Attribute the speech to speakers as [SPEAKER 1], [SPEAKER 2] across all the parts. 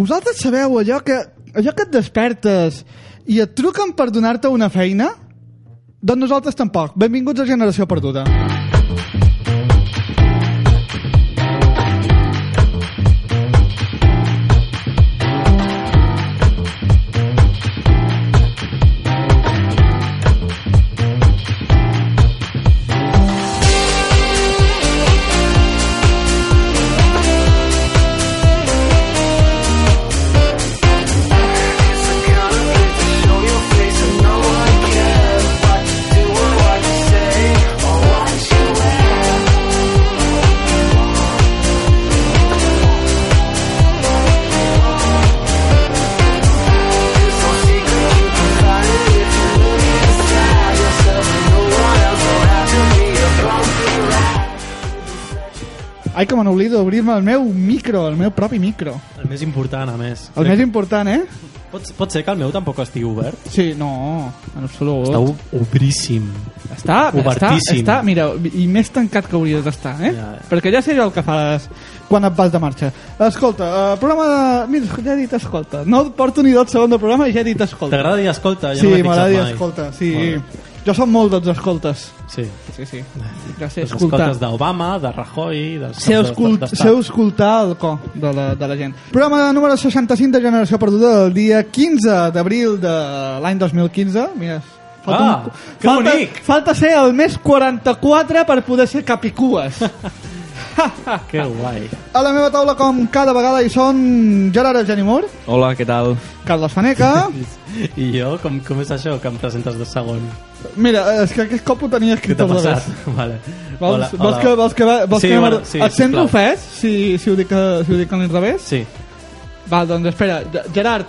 [SPEAKER 1] Vosaltres sabeu allò que, allò que et despertes i et truquen per donar-te una feina? Doncs nosaltres tampoc. Benvinguts a Generació Perduda. Ai, que me n'oblido d'obrir-me el meu micro, el meu propi micro.
[SPEAKER 2] El més important, a més.
[SPEAKER 1] El més important, eh?
[SPEAKER 2] Pot, pot ser que el meu tampoc estigui obert?
[SPEAKER 1] Sí, no, en absolut.
[SPEAKER 2] Està ob- obríssim.
[SPEAKER 1] Està, està,
[SPEAKER 2] obertíssim.
[SPEAKER 1] està, mira, i més tancat que hauries d'estar, eh?
[SPEAKER 2] Ja, ja.
[SPEAKER 1] Perquè ja sé jo el que fas quan et vas de marxa. Escolta, eh, programa de... Mira, ja he dit escolta. No porto ni 12 segons de programa i ja he dit escolta.
[SPEAKER 2] T'agrada dir escolta? Jo
[SPEAKER 1] sí,
[SPEAKER 2] no m'he fixat
[SPEAKER 1] m'agrada dir
[SPEAKER 2] mai.
[SPEAKER 1] escolta, sí.
[SPEAKER 2] Molt
[SPEAKER 1] Jo som molt dels escoltes.
[SPEAKER 2] bé. Sí.
[SPEAKER 1] Sí, sí. Ja sé
[SPEAKER 2] Els
[SPEAKER 1] escoltar.
[SPEAKER 2] escoltes d'Obama, de Rajoy... Dels
[SPEAKER 1] Sé,
[SPEAKER 2] dels-
[SPEAKER 1] escol...
[SPEAKER 2] d'estat.
[SPEAKER 1] sé escoltar el co de la, de la gent. Programa número 65 de Generació Perduda del dia 15 d'abril de l'any 2015. Mira, falta,
[SPEAKER 2] Ah,
[SPEAKER 1] un-
[SPEAKER 2] que
[SPEAKER 1] falta,
[SPEAKER 2] bonic!
[SPEAKER 1] falta ser el mes 44 per poder ser capicues.
[SPEAKER 2] Que guai.
[SPEAKER 1] A la meva taula, com cada vegada, hi són Gerard Genimur,
[SPEAKER 3] Hola, què tal?
[SPEAKER 1] Carles Faneca...
[SPEAKER 2] I jo, com, com és això que em presentes de segon?
[SPEAKER 1] Mira, és que aquest cop ho tenia
[SPEAKER 2] Què
[SPEAKER 1] escrit
[SPEAKER 2] t'ha
[SPEAKER 1] al
[SPEAKER 2] passat?
[SPEAKER 1] revés.
[SPEAKER 2] Vale.
[SPEAKER 1] Vols, vols que, vols que, vols
[SPEAKER 2] sí,
[SPEAKER 1] que
[SPEAKER 2] bueno, sí,
[SPEAKER 1] et sents
[SPEAKER 2] sisplau.
[SPEAKER 1] ofès si, si ho dic, eh, si ho dic al revés?
[SPEAKER 2] Sí.
[SPEAKER 1] Val, doncs espera, Ge- Gerard,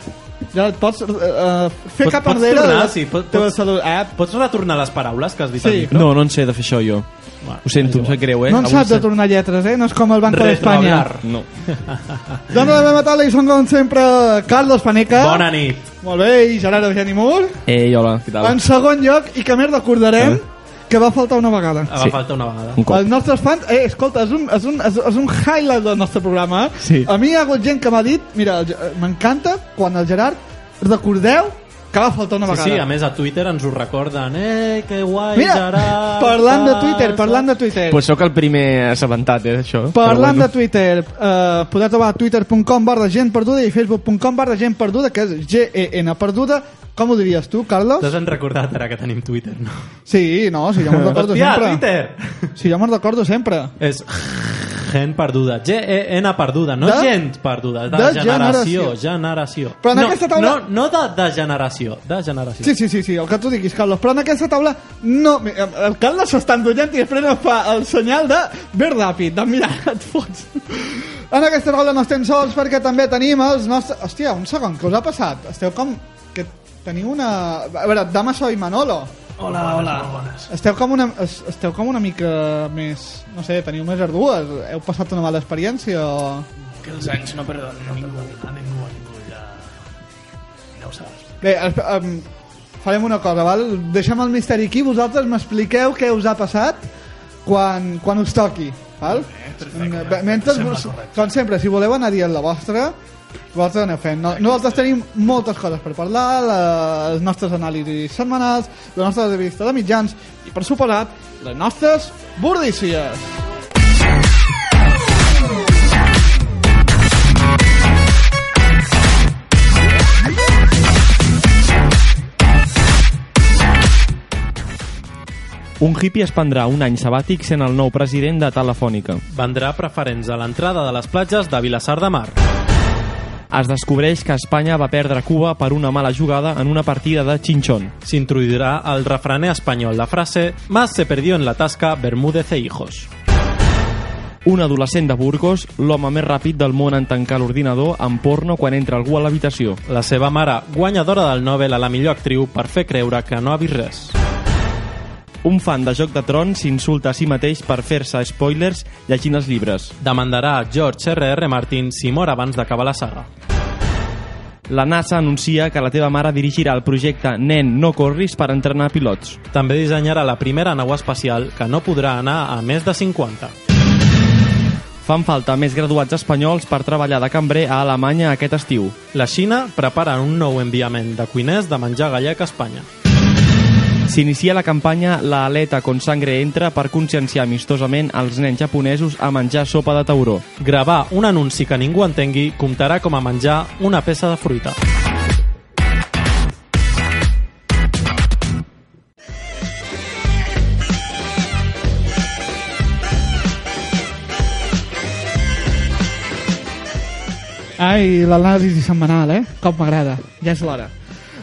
[SPEAKER 1] Gerard, pots uh, fer
[SPEAKER 2] Pots-
[SPEAKER 1] cap
[SPEAKER 2] pots
[SPEAKER 1] enrere
[SPEAKER 2] tornar,
[SPEAKER 1] la
[SPEAKER 2] sí, pot-
[SPEAKER 1] teva
[SPEAKER 2] pots-
[SPEAKER 1] salut. Eh,
[SPEAKER 2] Pots retornar les paraules que has dit
[SPEAKER 1] Sí.
[SPEAKER 2] al micro?
[SPEAKER 3] No, no en sé de fer això jo.
[SPEAKER 2] Bueno,
[SPEAKER 3] Ho sento, em sap greu, eh?
[SPEAKER 1] no en
[SPEAKER 3] Avui
[SPEAKER 1] saps de
[SPEAKER 3] sé-
[SPEAKER 1] tornar lletres, eh? No és com el Banco d'Espanya.
[SPEAKER 2] Retrograr.
[SPEAKER 3] No.
[SPEAKER 1] Doncs la meva taula hi són com sempre Carlos Paneca.
[SPEAKER 2] Bona nit.
[SPEAKER 1] Molt bé, i Gerard Eugeni Mur.
[SPEAKER 3] Ei, hola, què tal?
[SPEAKER 1] En segon lloc, i que més recordarem, que va faltar una vegada.
[SPEAKER 2] Ah, Va
[SPEAKER 3] Sí.
[SPEAKER 2] falta una vegada.
[SPEAKER 3] Un cop.
[SPEAKER 1] Els nostres fans... Eh, escolta, és un, és, un, és, és un highlight del nostre programa. eh?
[SPEAKER 3] Sí.
[SPEAKER 1] A mi hi ha hagut gent que m'ha dit... Mira, el Ge- eh, m'encanta quan el Gerard... Recordeu que va faltar una
[SPEAKER 2] Sí,
[SPEAKER 1] vegada.
[SPEAKER 2] sí, a més a Twitter ens ho recorden. Eh, que guai,
[SPEAKER 1] Mira,
[SPEAKER 2] Gerard.
[SPEAKER 1] parlant de
[SPEAKER 2] tal,
[SPEAKER 1] Twitter, parlant de Twitter.
[SPEAKER 3] Pues sóc el primer assabentat, eh, d'això.
[SPEAKER 1] Parlant de
[SPEAKER 3] Però
[SPEAKER 1] Twitter, eh, podeu trobar a twitter.com barra gent perduda i facebook.com barra gent perduda, que és G-E-N perduda. Com ho diries tu, Carlos?
[SPEAKER 2] T'has en recordat ara que tenim Twitter, no?
[SPEAKER 1] Sí, no, si jo me'n recordo
[SPEAKER 2] Hòstia,
[SPEAKER 1] sempre.
[SPEAKER 2] Twitter!
[SPEAKER 1] Si jo me'n recordo sempre.
[SPEAKER 2] És gent perduda. G-E-N perduda. No
[SPEAKER 1] De-
[SPEAKER 2] gent perduda. De,
[SPEAKER 1] de generació.
[SPEAKER 2] generació. Generació.
[SPEAKER 1] Però en
[SPEAKER 2] no,
[SPEAKER 1] aquesta taula-
[SPEAKER 2] No, no de, de generació. De generació.
[SPEAKER 1] Sí, sí, sí, sí, el que tu diguis, Carlos. Però en aquesta taula no... eh, El Carlos s'està endollant i després em fa el senyal de... Ve ràpid, de mirar, et fots. En aquesta taula no estem sols perquè també tenim els nostres... Hòstia, un segon, què us ha passat? Esteu com... Que teniu una... A veure, Damaso i Manolo.
[SPEAKER 2] Hola, hola. Bones.
[SPEAKER 1] Esteu com, una, es- esteu com una mica més... No sé, teniu més ardues? Heu passat una mala experiència o...
[SPEAKER 4] Que els anys no perdonen a ningú. A ningú, a ningú, ja... Ja ho saps.
[SPEAKER 1] Bé, es- em, farem una cosa, val? Deixem el misteri aquí, vosaltres m'expliqueu què us ha passat quan, quan us toqui, val?
[SPEAKER 4] perfecte.
[SPEAKER 1] Bé, Mentre,
[SPEAKER 4] Sembla
[SPEAKER 1] vos-
[SPEAKER 4] correcte.
[SPEAKER 1] com sempre, si voleu anar dient la vostra, vosaltres aneu fent. No, nosaltres tenim moltes coses per parlar, la- les nostres anàlisis setmanals, la nostra revista de mitjans i, per suposat, les nostres bordícies.
[SPEAKER 3] Un hippie es prendrà un any sabàtic sent el nou president de Telefònica.
[SPEAKER 2] Vendrà preferents a l'entrada de les platges de Vilassar de Mar.
[SPEAKER 3] es descobreix que Espanya va perdre Cuba per una mala jugada en una partida de xinxón.
[SPEAKER 2] S'introduirà al refrané espanyol la frase «Más se perdió en la tasca Bermúdez e hijos».
[SPEAKER 3] Un adolescent de Burgos, l'home més ràpid del món en tancar l'ordinador amb porno quan entra algú a l'habitació.
[SPEAKER 2] La seva mare, guanyadora del Nobel a la millor actriu per fer creure que no ha vist res.
[SPEAKER 3] Un fan de Joc de Trons s'insulta a si mateix per fer-se spoilers llegint els llibres.
[SPEAKER 2] Demandarà a George R.R. Martin si mor abans d'acabar la saga.
[SPEAKER 3] La NASA anuncia que la teva mare dirigirà el projecte Nen, no corris per entrenar pilots.
[SPEAKER 2] També dissenyarà la primera nau espacial que no podrà anar a més de 50.
[SPEAKER 3] Fan falta més graduats espanyols per treballar de cambrer a Alemanya aquest estiu.
[SPEAKER 2] La Xina prepara un nou enviament de cuiners de menjar gallec a Espanya.
[SPEAKER 3] S'inicia la campanya La aleta con sangre entra per conscienciar amistosament els nens japonesos a menjar sopa de tauró.
[SPEAKER 2] Gravar un anunci que ningú entengui comptarà com a menjar una peça de fruita.
[SPEAKER 5] Ai, l'anàlisi setmanal, eh? Com m'agrada. Ja és l'hora.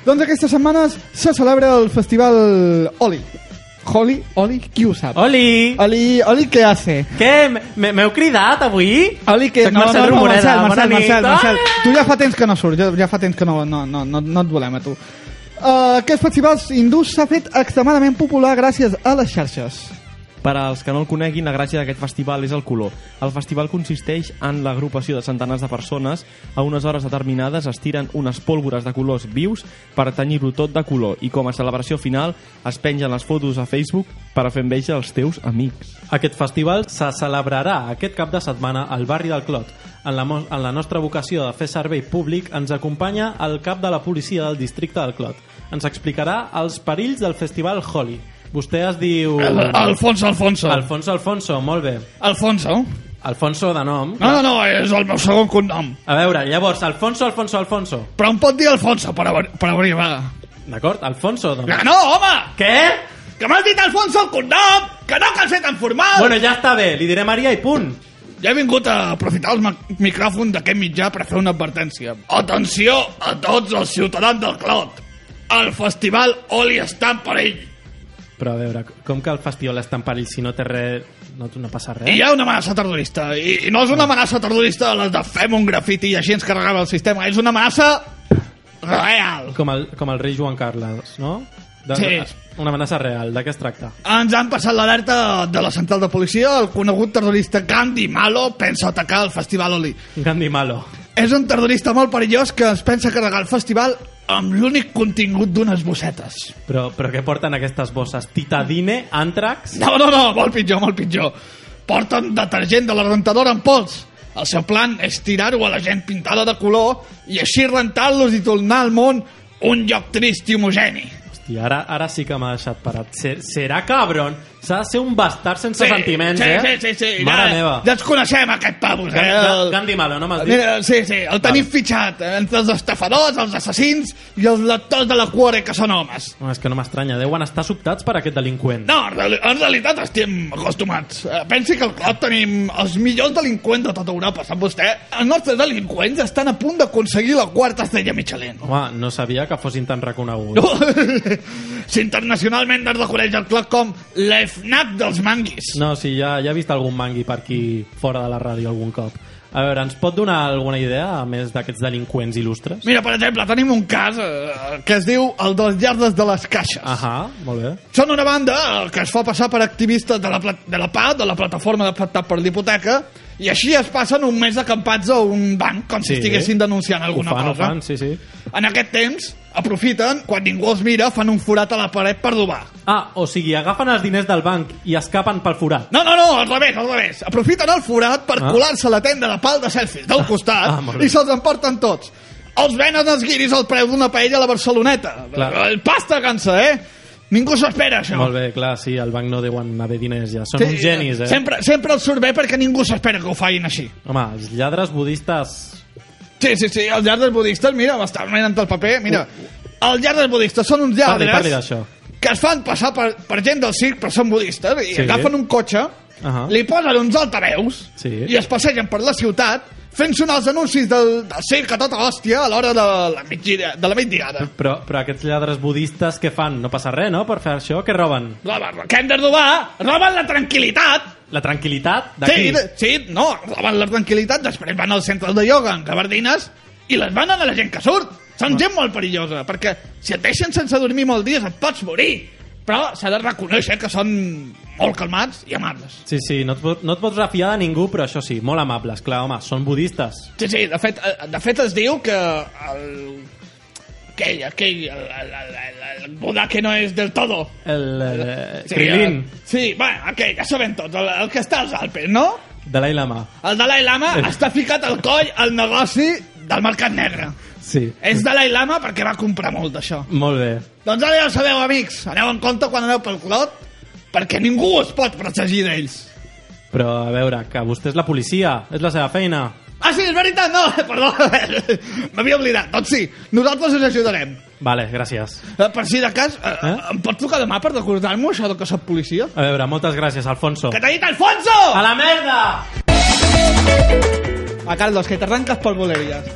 [SPEAKER 5] Doncs aquestes setmanes se celebra el festival Oli. Holi? Oli? Qui ho sap?
[SPEAKER 6] Oli!
[SPEAKER 5] Oli, Oli què hace?
[SPEAKER 6] Què? M- M'heu cridat avui?
[SPEAKER 5] Oli que...
[SPEAKER 6] Soc Marcel Romoreda,
[SPEAKER 5] Marcel,
[SPEAKER 6] bona
[SPEAKER 5] Marcel,
[SPEAKER 6] nit.
[SPEAKER 5] Marcel, Marcel,
[SPEAKER 6] Ah!
[SPEAKER 5] Tu ja fa temps que no surts, ja, ja fa temps que no, no, no, no, no et volem a tu. Uh, aquest festival hindús s'ha fet extremadament popular gràcies a les xarxes.
[SPEAKER 3] Per als que no el coneguin, la gràcia d'aquest festival és el color. El festival consisteix en l'agrupació de centenars de persones a unes hores determinades es tiren unes pólvores de colors vius per tenyir-ho tot de color i com a celebració final es pengen les fotos a Facebook per a fer enveja als teus amics.
[SPEAKER 2] Aquest festival se celebrarà aquest cap de setmana al barri del Clot. En la, mos- en la nostra vocació de fer servei públic ens acompanya el cap de la policia del districte del Clot. Ens explicarà els perills del festival Holi. Vostè es diu...
[SPEAKER 1] Alfonso, Alfonso.
[SPEAKER 2] Alfonso Alfonso, molt bé.
[SPEAKER 1] Alfonso?
[SPEAKER 2] Alfonso de nom.
[SPEAKER 1] No, no, no, és el meu segon cognom.
[SPEAKER 2] A veure, llavors, Alfonso, Alfonso, Alfonso.
[SPEAKER 1] Però em pot dir Alfonso per, abri- per abrir vaga.
[SPEAKER 2] D'acord? Alfonso, doncs.
[SPEAKER 1] Que no, home!
[SPEAKER 2] Què?
[SPEAKER 1] Que m'has dit
[SPEAKER 5] Doncs
[SPEAKER 1] Alfonso el cognom! Que no cal ser tan formal!
[SPEAKER 2] Bueno, ja està bé, li diré Maria i punt.
[SPEAKER 1] Ja he vingut a aprofitar el ma- micròfon d'aquest mitjà per fer una advertència. Atenció a tots els ciutadans del Clot! El festival Oli està en perill!
[SPEAKER 2] Però a veure, com que el festival està en perill si no té res... No, no passa res?
[SPEAKER 1] I hi ha una amenaça terrorista. I, i no és una amenaça terrorista de les de fem un grafiti i així ens carregava el sistema. És una amenaça real.
[SPEAKER 2] Com el, com el rei Joan Carles, no? De,
[SPEAKER 1] Sí.
[SPEAKER 2] Una amenaça real, de què es tracta?
[SPEAKER 1] Ens han passat l'alerta de la central de policia. El conegut terrorista Gandhi Malo pensa atacar el Festival Oli.
[SPEAKER 2] Gandhi Malo.
[SPEAKER 1] És un terrorista molt perillós que es pensa carregar el festival amb l'únic contingut d'unes bossetes.
[SPEAKER 2] Però, però què porten aquestes bosses? Titadine? Àntrax?
[SPEAKER 1] No, no, no, molt pitjor, molt pitjor. Porten detergent de la rentadora en pols. El seu plan és tirar-ho a la gent pintada de color i així rentar-los i tornar al món un lloc trist i homogeni.
[SPEAKER 2] Hòstia, ara, ara sí que m'ha deixat parat. Se, serà cabron? S'ha de ser un bastard sense sentiments,
[SPEAKER 1] sí,
[SPEAKER 2] eh?
[SPEAKER 1] sí, sí, sí.
[SPEAKER 2] Mare
[SPEAKER 1] ja,
[SPEAKER 2] meva.
[SPEAKER 1] Ja ens coneixem, aquest pavos. Eh?
[SPEAKER 2] Gandhi, Gandhi Malo, no m'has dit?
[SPEAKER 1] Mira, sí, sí, el tenim fitxat eh, entre els estafadors, els assassins i els lectors de la cuore que són homes.
[SPEAKER 2] No, és que no m'estranya, deuen estar sobtats per aquest delinqüent.
[SPEAKER 1] No, en reali- en realitat estem acostumats. Eh, Pensi que al Clot tenim els millors delinqüents de tota Europa, sap vostè? Els nostres delinqüents estan a punt d'aconseguir la quarta estrella Michelin.
[SPEAKER 2] Home, no sabia que fossin tan reconeguts.
[SPEAKER 1] No. Si internacionalment es reconeix el Clot com l'EFNAC dels manguis.
[SPEAKER 2] No, sí, ja, ja he vist algun mangui per aquí fora de la ràdio algun cop. A veure, ens pot donar alguna idea, a més d'aquests delinqüents il·lustres?
[SPEAKER 1] Mira, per exemple, tenim un cas eh, que es diu el dels llardes de les caixes.
[SPEAKER 2] Ahà, molt bé.
[SPEAKER 1] Són una banda eh, que es fa passar per activistes de la, pla- de la PA, de la plataforma d'afectat per l'hipoteca, i així es passen un mes acampats a un banc, com si
[SPEAKER 2] Sí.
[SPEAKER 1] estiguessin denunciant alguna
[SPEAKER 2] ho fan,
[SPEAKER 1] cosa.
[SPEAKER 2] Ho fan, sí, sí.
[SPEAKER 1] En aquest temps, aprofiten, quan ningú els mira, fan un forat a la paret per dobar.
[SPEAKER 2] Ah, o sigui, agafen els diners del banc i escapen pel forat.
[SPEAKER 1] No, no, no, al revés, al revés. Aprofiten el forat per
[SPEAKER 2] Ah.
[SPEAKER 1] colar-se a la tenda de pal de selfies del costat
[SPEAKER 2] ah, molt bé.
[SPEAKER 1] i se'ls emporten tots. Els venen els guiris al preu d'una paella a la Barceloneta.
[SPEAKER 2] Clar.
[SPEAKER 1] El pasta cansa, eh? Ningú s'ho espera, això.
[SPEAKER 2] Molt bé, clar, sí, al banc no deuen haver diners ja. Són uns genis, eh?
[SPEAKER 1] Sempre, sempre els surt bé perquè ningú s'espera que ho facin així.
[SPEAKER 2] Home, els lladres budistes...
[SPEAKER 1] Sí, sí, sí, els lladres budistes, mira, m'està menant el paper, mira. Els lladres budistes són uns
[SPEAKER 2] Parli,
[SPEAKER 1] lladres
[SPEAKER 2] Uh, parli d'això.
[SPEAKER 1] que es fan passar per, per gent del circ, però són budistes, i
[SPEAKER 2] Sí.
[SPEAKER 1] agafen un cotxe,
[SPEAKER 2] Ahà.
[SPEAKER 1] li posen uns altaveus
[SPEAKER 2] Sí.
[SPEAKER 1] i es passegen per la ciutat
[SPEAKER 7] fent sonar els anuncis del, del circ a tota hòstia a l'hora de la mitjira, de la migdiada.
[SPEAKER 2] Però, però aquests lladres budistes què fan? No passa res, no?, per fer això? Què roben?
[SPEAKER 7] Roben, què hem de robar? Roben la tranquil·litat!
[SPEAKER 2] La tranquil·litat de
[SPEAKER 7] Sí,
[SPEAKER 2] qui?
[SPEAKER 7] de- sí, no, roben la tranquil·litat, després van als centres de ioga en gabardines i les van a la gent que surt. Són gent molt perillosa, perquè si et deixen sense dormir molts dies et pots morir. Però s'ha de reconèixer que són molt calmats i amables.
[SPEAKER 2] Sí, sí, no et, pot- no et pots refiar de ningú, però això sí, molt amables. Clar, home, són budistes.
[SPEAKER 7] Sí, sí, de fet, eh, de fet es diu que el... Aquell, aquell, el, el, el, el, el Buda que no és del todo.
[SPEAKER 2] El... Eh,
[SPEAKER 7] Sí,
[SPEAKER 2] Krilin,
[SPEAKER 7] el- Sí, bueno, aquell, ja sabem tots, el, el que està als Alpes, no?
[SPEAKER 2] Dalai Lama.
[SPEAKER 7] El Dalai Lama està ficat al coll al negoci del mercat negre.
[SPEAKER 2] Sí,
[SPEAKER 7] És Dalai Lama perquè va comprar molt d'això.
[SPEAKER 2] molt bé.
[SPEAKER 7] Doncs ara ja ho sabeu, amics. Aneu en compte quan aneu pel clot, perquè ningú es pot protegir d'ells.
[SPEAKER 2] Però, a veure, que vostè és la policia, és la seva feina.
[SPEAKER 7] Ah, sí, és veritat, no, perdó, m'havia oblidat. Doncs sí, nosaltres us ajudarem.
[SPEAKER 2] Vale, gràcies.
[SPEAKER 7] Eh, Per si de cas, eh?
[SPEAKER 2] Eh?
[SPEAKER 7] em pot trucar demà per recordar-m'ho, això de que soc policia?
[SPEAKER 2] A veure, moltes gràcies, Alfonso.
[SPEAKER 7] Que t'ha dit Alfonso!
[SPEAKER 2] A la merda!
[SPEAKER 1] A Carlos, que t'arranques pel Boleries.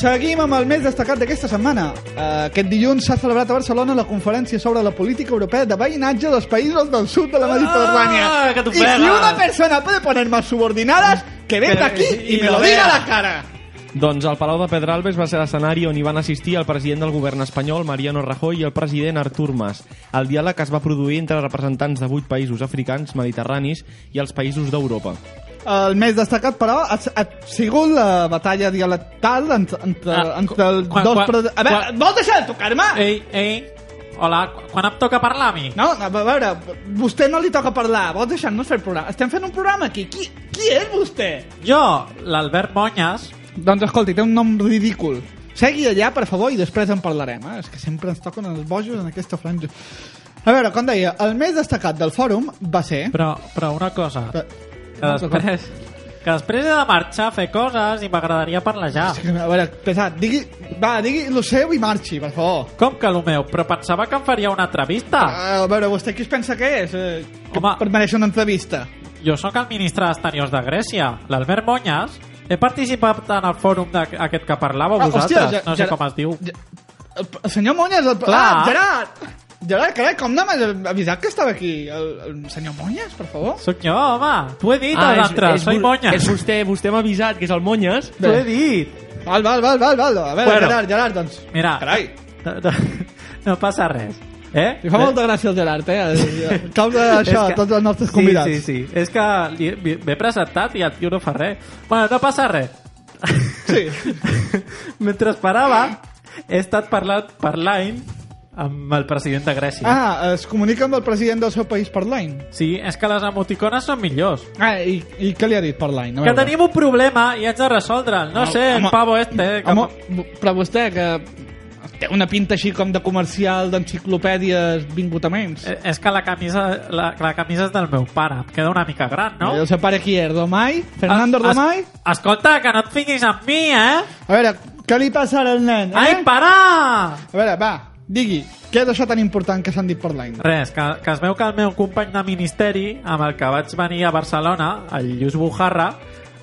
[SPEAKER 1] Seguim amb el més destacat d'aquesta setmana. Eh, Aquest dilluns s'ha celebrat a Barcelona la conferència sobre la política europea de veïnatge dels països del sud de la Mediterrània.
[SPEAKER 2] Ah, que
[SPEAKER 1] I
[SPEAKER 2] t'ofega.
[SPEAKER 1] si una persona puede poner más subordinadas, que venga
[SPEAKER 2] Pero-
[SPEAKER 1] aquí
[SPEAKER 2] y
[SPEAKER 1] y me
[SPEAKER 2] lo
[SPEAKER 1] lo diga
[SPEAKER 2] vea.
[SPEAKER 1] a la cara.
[SPEAKER 3] Doncs el Palau de Pedralbes va ser l'escenari on hi van assistir el president del govern espanyol, Mariano Rajoy, i el president Artur Mas. El diàleg es va produir entre representants de vuit països africans, mediterranis i els països d'Europa.
[SPEAKER 1] El més destacat, però, ha, ha sigut la batalla dialectal entre, entre,
[SPEAKER 2] Ah,
[SPEAKER 1] entre els
[SPEAKER 2] quan-
[SPEAKER 1] dos...
[SPEAKER 2] quan-
[SPEAKER 1] pre- A veure,
[SPEAKER 2] quan-
[SPEAKER 1] vols deixar de tocar-me?
[SPEAKER 2] Ei, ei, hola, qu- quan em toca parlar a mi?
[SPEAKER 1] No, a veure, vostè no li toca parlar. Vols deixar-nos fer el programa? Estem fent un programa aquí. Qui, qui és vostè?
[SPEAKER 2] Jo, l'Albert Monyes,
[SPEAKER 1] Doncs escolti, té un nom ridícul. Segui allà, per favor, i després en parlarem. Eh? És que sempre ens toquen els bojos en aquesta franja. A veure, com deia, el més destacat del fòrum va ser...
[SPEAKER 2] però, però una Eh, cosa,
[SPEAKER 1] Però-
[SPEAKER 2] que després... Que després he de marxar a fer coses i m'agradaria parlar ja.
[SPEAKER 1] A veure, pesat, digui... Va, digui lo seu i marxi, per favor.
[SPEAKER 2] Com que el meu? Però pensava que em faria una entrevista.
[SPEAKER 1] A veure, vostè qui es pensa que és? Eh, que
[SPEAKER 2] Home.
[SPEAKER 1] per mereixer una entrevista.
[SPEAKER 2] Jo sóc el ministre d'Exteriors de Grècia, l'Albert Monyes. He participat en el fòrum d'aquest que parlàveu
[SPEAKER 1] Ah,
[SPEAKER 2] vosaltres.
[SPEAKER 1] hòstia, ja-
[SPEAKER 2] no sé
[SPEAKER 1] ja-
[SPEAKER 2] com es diu.
[SPEAKER 1] ja- El, el senyor Monyes... El,
[SPEAKER 2] Clar.
[SPEAKER 1] Ah, Gerard! Gerard, carai, com no m'has avisat que estava aquí? El, el senyor Monyes, per favor?
[SPEAKER 2] Sóc jo, home. T'ho he dit ah, als altres. Soy
[SPEAKER 3] vo-
[SPEAKER 2] Monyes.
[SPEAKER 3] És vostè, vostè m'ha avisat que és el Monyes.
[SPEAKER 2] T'ho he dit.
[SPEAKER 1] Val, val, val, val, val. A veure,
[SPEAKER 2] Bueno.
[SPEAKER 1] bueno. Gerard, Gerard, doncs...
[SPEAKER 2] Mira,
[SPEAKER 1] Carai,
[SPEAKER 2] no, no, no passa res. Eh?
[SPEAKER 1] li fa molta gràcia el Gerard, eh? A causa d'això, que... tots els nostres
[SPEAKER 2] sí,
[SPEAKER 1] convidats.
[SPEAKER 2] Sí, sí, sí. És que li- m'he m'he presentat i el tio no fa res. Bueno, no passa res.
[SPEAKER 1] Sí.
[SPEAKER 2] Mentre esperava, he estat parlant per l'any amb el president de Grècia.
[SPEAKER 1] Ah, es comunica amb el president del seu país per line.
[SPEAKER 2] Sí, és que les emoticones són millors.
[SPEAKER 1] Ah, i, i què li ha dit per line? A
[SPEAKER 2] Que
[SPEAKER 1] veure.
[SPEAKER 2] tenim un problema i haig de resoldre'l. No sé, el
[SPEAKER 1] home,
[SPEAKER 2] pavo este... eh, Que...
[SPEAKER 1] Home, però vostè, que té una pinta així com de comercial d'enciclopèdies vingut a menys.
[SPEAKER 2] Eh, És que la camisa, la, la camisa és del meu pare. Em queda una mica gran, no?
[SPEAKER 1] El seu pare qui és? Domai? Fernando
[SPEAKER 2] Es- es-
[SPEAKER 1] Domai?
[SPEAKER 2] Escolta, que no et fiquis amb mi, eh?
[SPEAKER 1] A veure, què li passa ara al nen? Eh?
[SPEAKER 2] Ai, para!
[SPEAKER 1] A veure, va, digui, què és això tan important que s'han dit per l'any?
[SPEAKER 2] Res, que, que es veu que el meu company de ministeri, amb el que vaig venir a Barcelona, el Lluís Bujarra,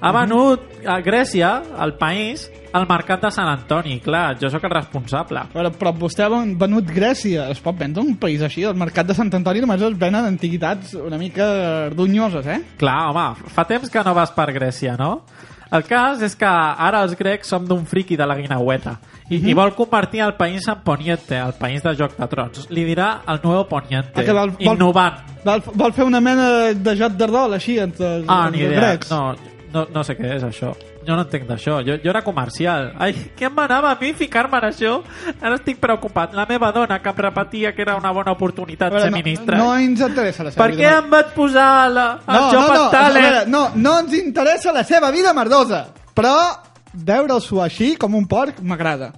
[SPEAKER 2] ha
[SPEAKER 1] Mhm.
[SPEAKER 2] venut a Grècia, al país, al mercat de Sant Antoni. Clar, jo sóc el responsable.
[SPEAKER 1] A veure, però vostè ha ven- venut Grècia. Es pot vendre un país així? Al mercat de Sant Antoni només es venen antiguitats una mica ardunyoses, eh?
[SPEAKER 2] Clar, home, fa temps que no vas per Grècia, no? El cas és que ara els grecs som d'un friqui de la guinaueta i,
[SPEAKER 1] Mhm.
[SPEAKER 2] i vol convertir el país en Poniente, el país de Joc de Trons. Li dirà el nou Poniente,
[SPEAKER 1] Ah, que vol- vol-
[SPEAKER 2] innovant.
[SPEAKER 1] Vol, vol fer una mena de joc d'ardol, així, entre els,
[SPEAKER 2] Ah,
[SPEAKER 1] entre
[SPEAKER 2] ni
[SPEAKER 1] els
[SPEAKER 2] idea.
[SPEAKER 1] grecs?
[SPEAKER 2] No, no, no sé què és això. Jo no entenc d'això. Jo, jo era comercial. Ai, què em manava a mi ficar-me en això? Ara estic preocupat. La meva dona, que em repetia que era una bona
[SPEAKER 1] A
[SPEAKER 2] oportunitat
[SPEAKER 1] veure,
[SPEAKER 2] ser ministre.
[SPEAKER 1] no, no ens interessa la seva
[SPEAKER 2] per
[SPEAKER 1] vida.
[SPEAKER 2] què em vaig posar la, el
[SPEAKER 1] No,
[SPEAKER 2] joc
[SPEAKER 1] no, no, a
[SPEAKER 2] Talent?
[SPEAKER 1] veure, no, no ens interessa la seva vida merdosa, però veure'l suar així com un porc m'agrada.